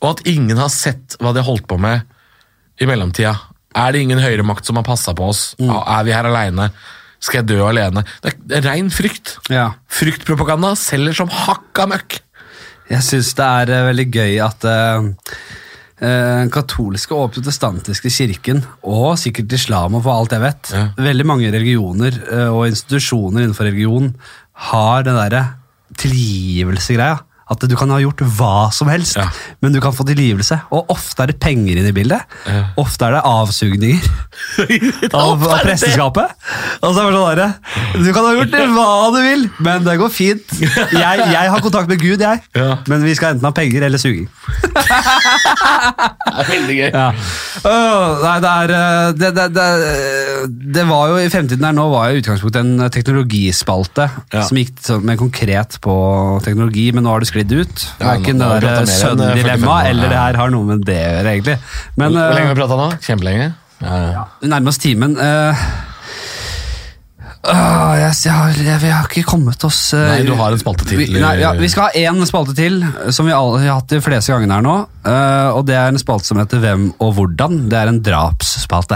og at ingen har sett hva de har holdt på med i mellomtida? Er det ingen høyere makt som har passa på oss? Er vi her aleine? Skal jeg dø alene? Det er, det er rein frykt.
Ja.
Fryktpropaganda selger som hakka møkk.
Jeg syns det er eh, veldig gøy at eh, eh, den katolske og protestantiske kirken, og sikkert islam og for alt jeg vet,
Ja.
veldig mange religioner eh, og institusjoner innenfor religion har den derre tilgivelsegreia. At du kan ha gjort hva som helst,
Ja.
men du kan få tilgivelse. Og ofte er det penger inne i bildet.
Ja.
Ofte er det avsugninger av, av presteskapet. Og så er det sånn der, Du kan ha gjort det hva du vil, men det går fint. Jeg, jeg har kontakt med Gud, jeg.
Ja.
Men vi skal enten ha penger eller suging.
Det er veldig gøy.
Ja. Øh, nei, det er øh, det, det, det, det var jo i fremtiden her nå var jo i utgangspunktet en eh, teknologispalte
Ja.
som gikk sånn mer konkret på teknologi, men nå har det sklidd ut.
Ja,
Verken
nå
det
har vi
der
pratet mer enn
sønnedilemma
45 nå,
eller det
ja.
her har noe med det å gjøre, egentlig. Men
Hvor lenge har
øh,
vi prata nå? Kjempelenge? Ja, ja.
vi nærmer oss timen. øh. Åh, jeg, jeg, har, jeg, vi har ikke kommet oss øh,
Nei, du har en spalte til.
Vi, nei, ja, vi skal ha én spalte til, som vi alle, har hatt de fleste gangene her nå. eh, og Det er en spalte som heter Hvem og hvordan. Det er en drapsspalte.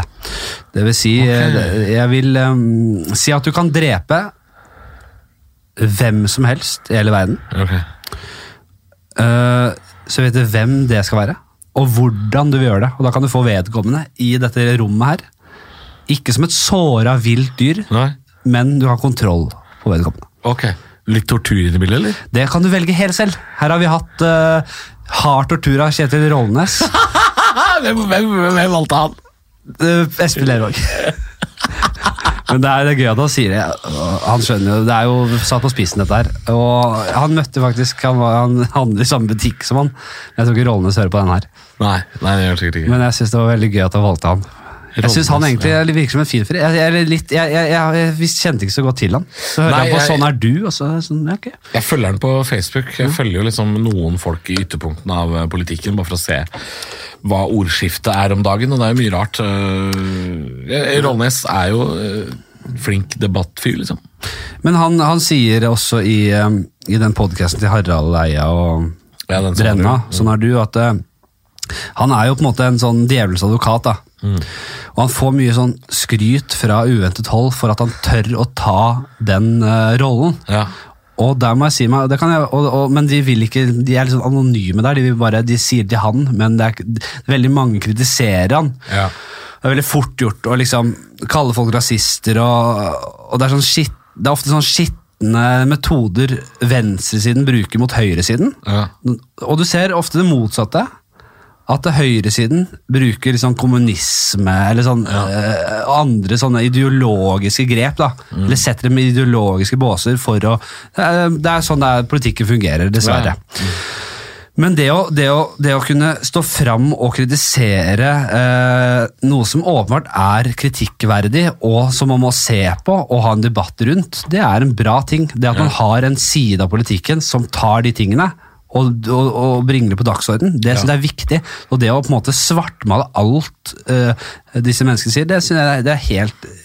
Det vil si, eh, jeg vil eh, si at du kan drepe hvem som helst i hele verden.
Ok.
Eh, så vet du hvem det skal være, og hvordan du vil gjøre det. Og Da kan du få vedkommende i dette rommet her. Ikke som et såra vilt dyr,
Nei?
men du har kontroll på vedkommende.
Ok. Litt tortur inn i bildet, eller?
Det kan du velge helt selv. Her har vi hatt uh, hard tortur av Kjetil Rollnes.
hvem, valgte han?
Eh, Espen Lervåg. Men det er, det er gøy at han sier det. Og Han skjønner jo, Det er jo satt på spissen, dette her. Og han møtte faktisk Han, var, han handler i samme butikk som han. Jeg tror ikke Rollnes hører på den her.
Nei, nei, det gjør det sikkert ikke.
Men jeg syns det var veldig gøy at han valgte han. Jeg syns han
Rollnes,
egentlig
ja.
er- virker som en fin fyr. Jeg, jeg, er litt- jeg, jeg, jeg, jeg kjente ikke så godt til han. Så hører
Nei,
jeg på
jeg-
'Sånn er du', og så er jeg sånn, ja, ok.
Jeg følger han på Facebook. Jeg følger jo liksom noen folk i ytterpunktene av eh, politikken, bare for å se hva ordskiftet er om dagen, og det er jo mye rart. Eh, eh, Rollnes er jo eh, flink debattfyr, liksom.
Men han, han sier også i, eh, i den podkasten til Harald Eia og
Ja, den som-
Brenna, sånn er du, at eh, han er jo på en måte en sånn djevelens advokat. da. Og han får mye sånn skryt fra uventet hold for at han tør å ta den eh, rollen.
Ja.
Og der må jeg si meg, det kan jeg, og, og, men de vil ikke, de er litt sånn anonyme der. De vil bare, de sier til han, men det er, ikke- veldig mange kritiserer han.
Ja.
Det er veldig fort gjort å liksom kalle folk rasister, og, og det, er sånn skitt- det er ofte sånn skitne metoder venstresiden bruker mot høyresiden.
Ja.
Og du ser ofte det motsatte. At det høyresiden bruker liksom kommunisme eller sånn, eh, andre sånne ideologiske grep. da, Eller setter dem i ideologiske båser for å eh, Det er sånn det er, politikken fungerer, dessverre. Men det å, det, å, det å kunne stå fram og kritisere eh, noe som åpenbart er kritikkverdig, og som man må se på og ha en debatt rundt, det er en bra ting. Det at man har en side av politikken som tar de tingene og, og, og bringer det på dagsorden, det synes jeg er viktig. Og det å på en måte svartmale alt eh, disse menneskene sier, det synes jeg det er helt eh,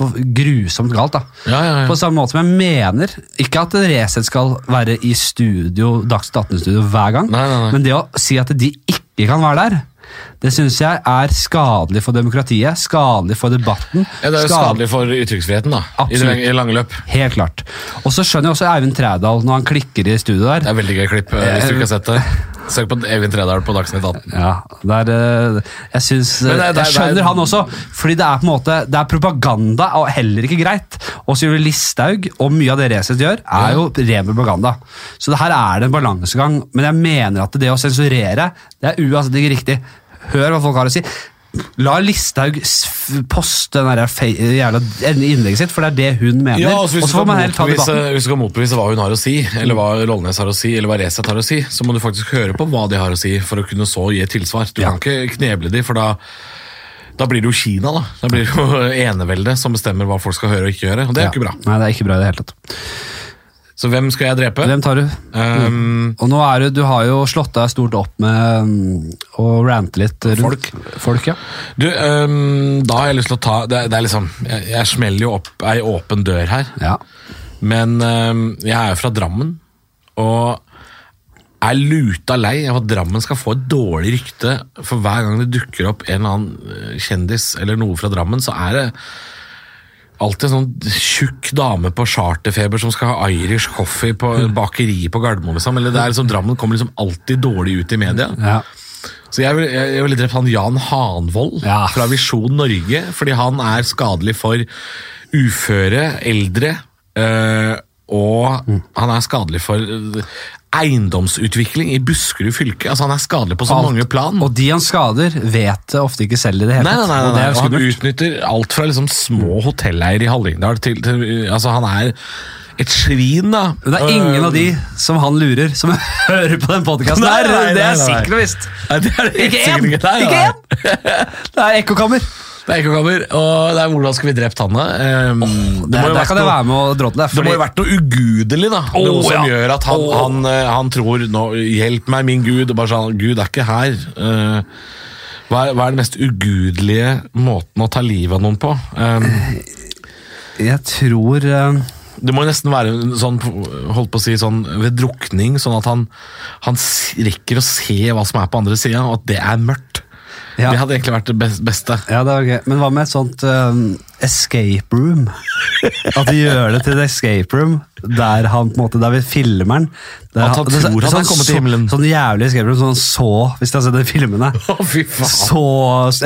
for grusomt galt. da.
Ja, ja, ja.
På samme måte som jeg mener, ikke at Resett skal være i studio, Dagsnytt 18-studio hver gang,
Nei, nei, nei.
men det å si at de ikke kan være der, det syns jeg er skadelig for demokratiet, skadelig for debatten.
ja, det er jo skadelig for ytringsfriheten, da. I det
Absolutt.
lange- I lange løp.
Helt klart. Og så skjønner jeg også Eivind Trædal når han klikker i studio der.
Det er veldig gøy klipp, eh, hvis du ikke har sett det. Søk på Evin Tredal på Dagsnytt 18.
Ja, det er, eh, jeg, syns,
Men det er- det er-
jeg skjønner
det er-
han også, fordi det er på en måte Det er propaganda og heller ikke greit. Og så gjør det Listhaug, og mye av det Resett gjør, er jo ren propaganda. Så det her er det en balansegang, men jeg mener at det å sensurere, det er uansett ikke riktig. Hør hva folk har å si. La Listhaug s- poste den der fe- jævla innlegget sitt, for det er det hun mener.
Ja, altså
og
hvis,
så får man helt ta
du skal
debatten.
motbevise, hvis du skal motbevise hva hun har å si, eller hva Rollnes har å si, eller hva Resett har å si, så må du faktisk høre på hva de har å si, for å kunne så gi et tilsvar. Du
Ja.
kan ikke kneble de, for da, da blir det jo Kina, da. Da blir det jo eneveldet som bestemmer hva folk skal høre og ikke gjøre, og det er jo ikke bra.
Nei, det er ikke bra i det hele tatt.
Så hvem skal jeg drepe?
Hvem tar du?
Ehm,
Og nå er du, du har jo slått deg stort opp med mm, å rante litt rundt folk. ja.
du, ehm, da har jeg lyst til å ta Det, er- det er liksom Jeg, jeg smeller jo opp ei åpen dør her.
ja.
Men øhm, jeg er jo fra Drammen, og er luta lei av at Drammen skal få et dårlig rykte. For hver gang det dukker opp en eller annen øh, kjendis eller noe fra Drammen, så er det alltid en sånn tjukk dame på charterfeber som skal ha Irish coffee på bakeri på Gardermoen. Liksom. Eller det er liksom, Drammen kommer liksom alltid dårlig ut i media.
ja.
Så jeg vil- jeg jeg ville drept han Jan Hanvold
Ja.
fra Visjon Norge, fordi han er skadelig for uføre, eldre eh, og
Mm.
han er skadelig for eh, eiendomsutvikling i Buskerud fylke. Altså, han er skadelig på så
Alt.
mange plan.
Og de han skader, vet det ofte ikke selv i det hele
Nei, nei, nei,
og det
nei,
er
og
jo
han
skummelt.
utnytter alt fra liksom små hotelleier i Hallingdal til, til Altså, han er et svin, da.
Men det er ingen av de som han lurer, som hører på den podkasten
Nei,
her.
nei, nei,
Det er
nei.
sikkert og visst.
Nei, det er det helt
Ikke
sikkert
én!
Nei,
Ikke
nei, nei.
én! Det er ekkokammer.
Det er ekkokammer, og det er hvordan skulle vi drept han, da? Ehm, det
Der,
må jo
der
vært
kan jeg
noe-
være med og dra til deg.
Det må jo ha vært noe ugudelig, da. noe
Åh,
som
ja.
gjør at han,
Åh.
han, eh, han tror nå, 'Hjelp meg, min Gud'. Og bare sånn, Gud er ikke her. Eh, hva, er, hva er den mest ugudelige måten å ta livet av noen på? Eh,
Jeg tror eh,
det må jo nesten være en sånn, holdt på å si, sånn ved drukning, sånn at han, han s- rekker å se hva som er på andre sida, og at det er mørkt.
Ja.
Det hadde egentlig vært det bes- beste.
Ja, det var gøy. Men hva med et sånt øhm, escape room? At de gjør det til et escape room der han på en måte, der vi filmer den. Der
At han tror han er kommet til himmelen.
Sånn jævlig escape room som han så, hvis de har sett de filmene.
Å, fy faen.
Så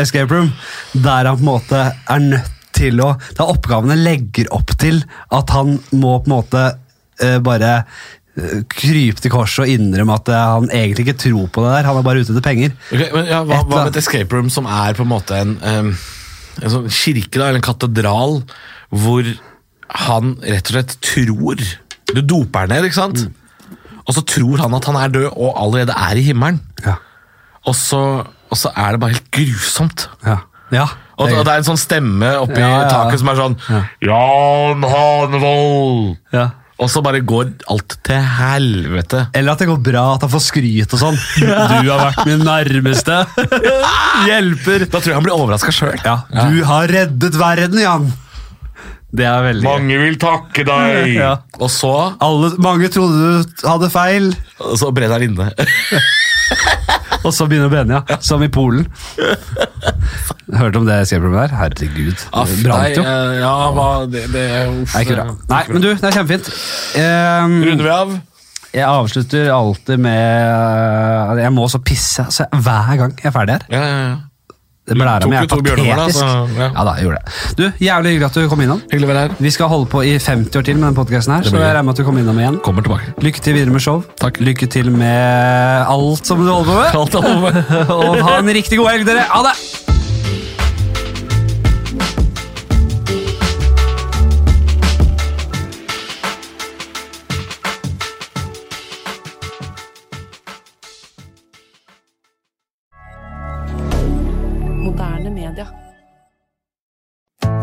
escape room, der han på en måte er nødt til å Der oppgavene legger opp til at han må på en måte eh, bare eh, krype til korset og innrømme at eh, han egentlig ikke tror på det der. Han er bare ute etter penger.
Ok, men ja, hva,
Et
hva
eller
med et escape room som er på en måte en, em, en sånn kirke da, eller en katedral, hvor han rett og slett tror Du doper ned, ikke sant?
Mm.
Og så tror han at han er død og allerede er i himmelen.
Ja.
Og så, og så er det bare helt grusomt.
Ja. ja.
Og, og det er en sånn stemme oppi
Ja, ja.
taket som er sånn Jan Hanevold!
ja.
Og så bare går alt til helvete.
Eller at det går bra at han får skryt og sånn. Du har vært min nærmeste. Hjelper.
Da tror jeg han blir overraska sjøl.
Ja, du har reddet verden, Jan. Det er veldig mange.
vil takke deg!
Ja.
Og så
Alle, mange trodde du hadde feil,
Og så brenner han inne.
og så begynner Benja, som i Polen. Hørte om det skrevet der? Herregud. Det brant jo.
Nei, eh, ja, hva, det, det uff, eh.
Nei, ikke bra. Nei, men du, det er kjempefint. Ehm,
Runder vi av?
Jeg avslutter alltid med eh, Jeg må så pisse altså, hver gang jeg er ferdig her.
Ja, ja, ja.
Det blæra
tok
mi er
jo to bjørnemål, da,
patetisk.
så, ja.
ja. da, jeg gjorde det. Du, Jævlig hyggelig at du kom innom.
Hyggelig å være her.
Vi skal holde på i 50 år til med denne podkasten, her, så
blir
jeg
gøy.
regner med at du kommer innom igjen.
Kommer tilbake.
Lykke til videre med show.
Takk.
Lykke til med alt som du holder på med.
Alt er over.
Og ha en riktig god helg, dere. Ha det!
Moderne media.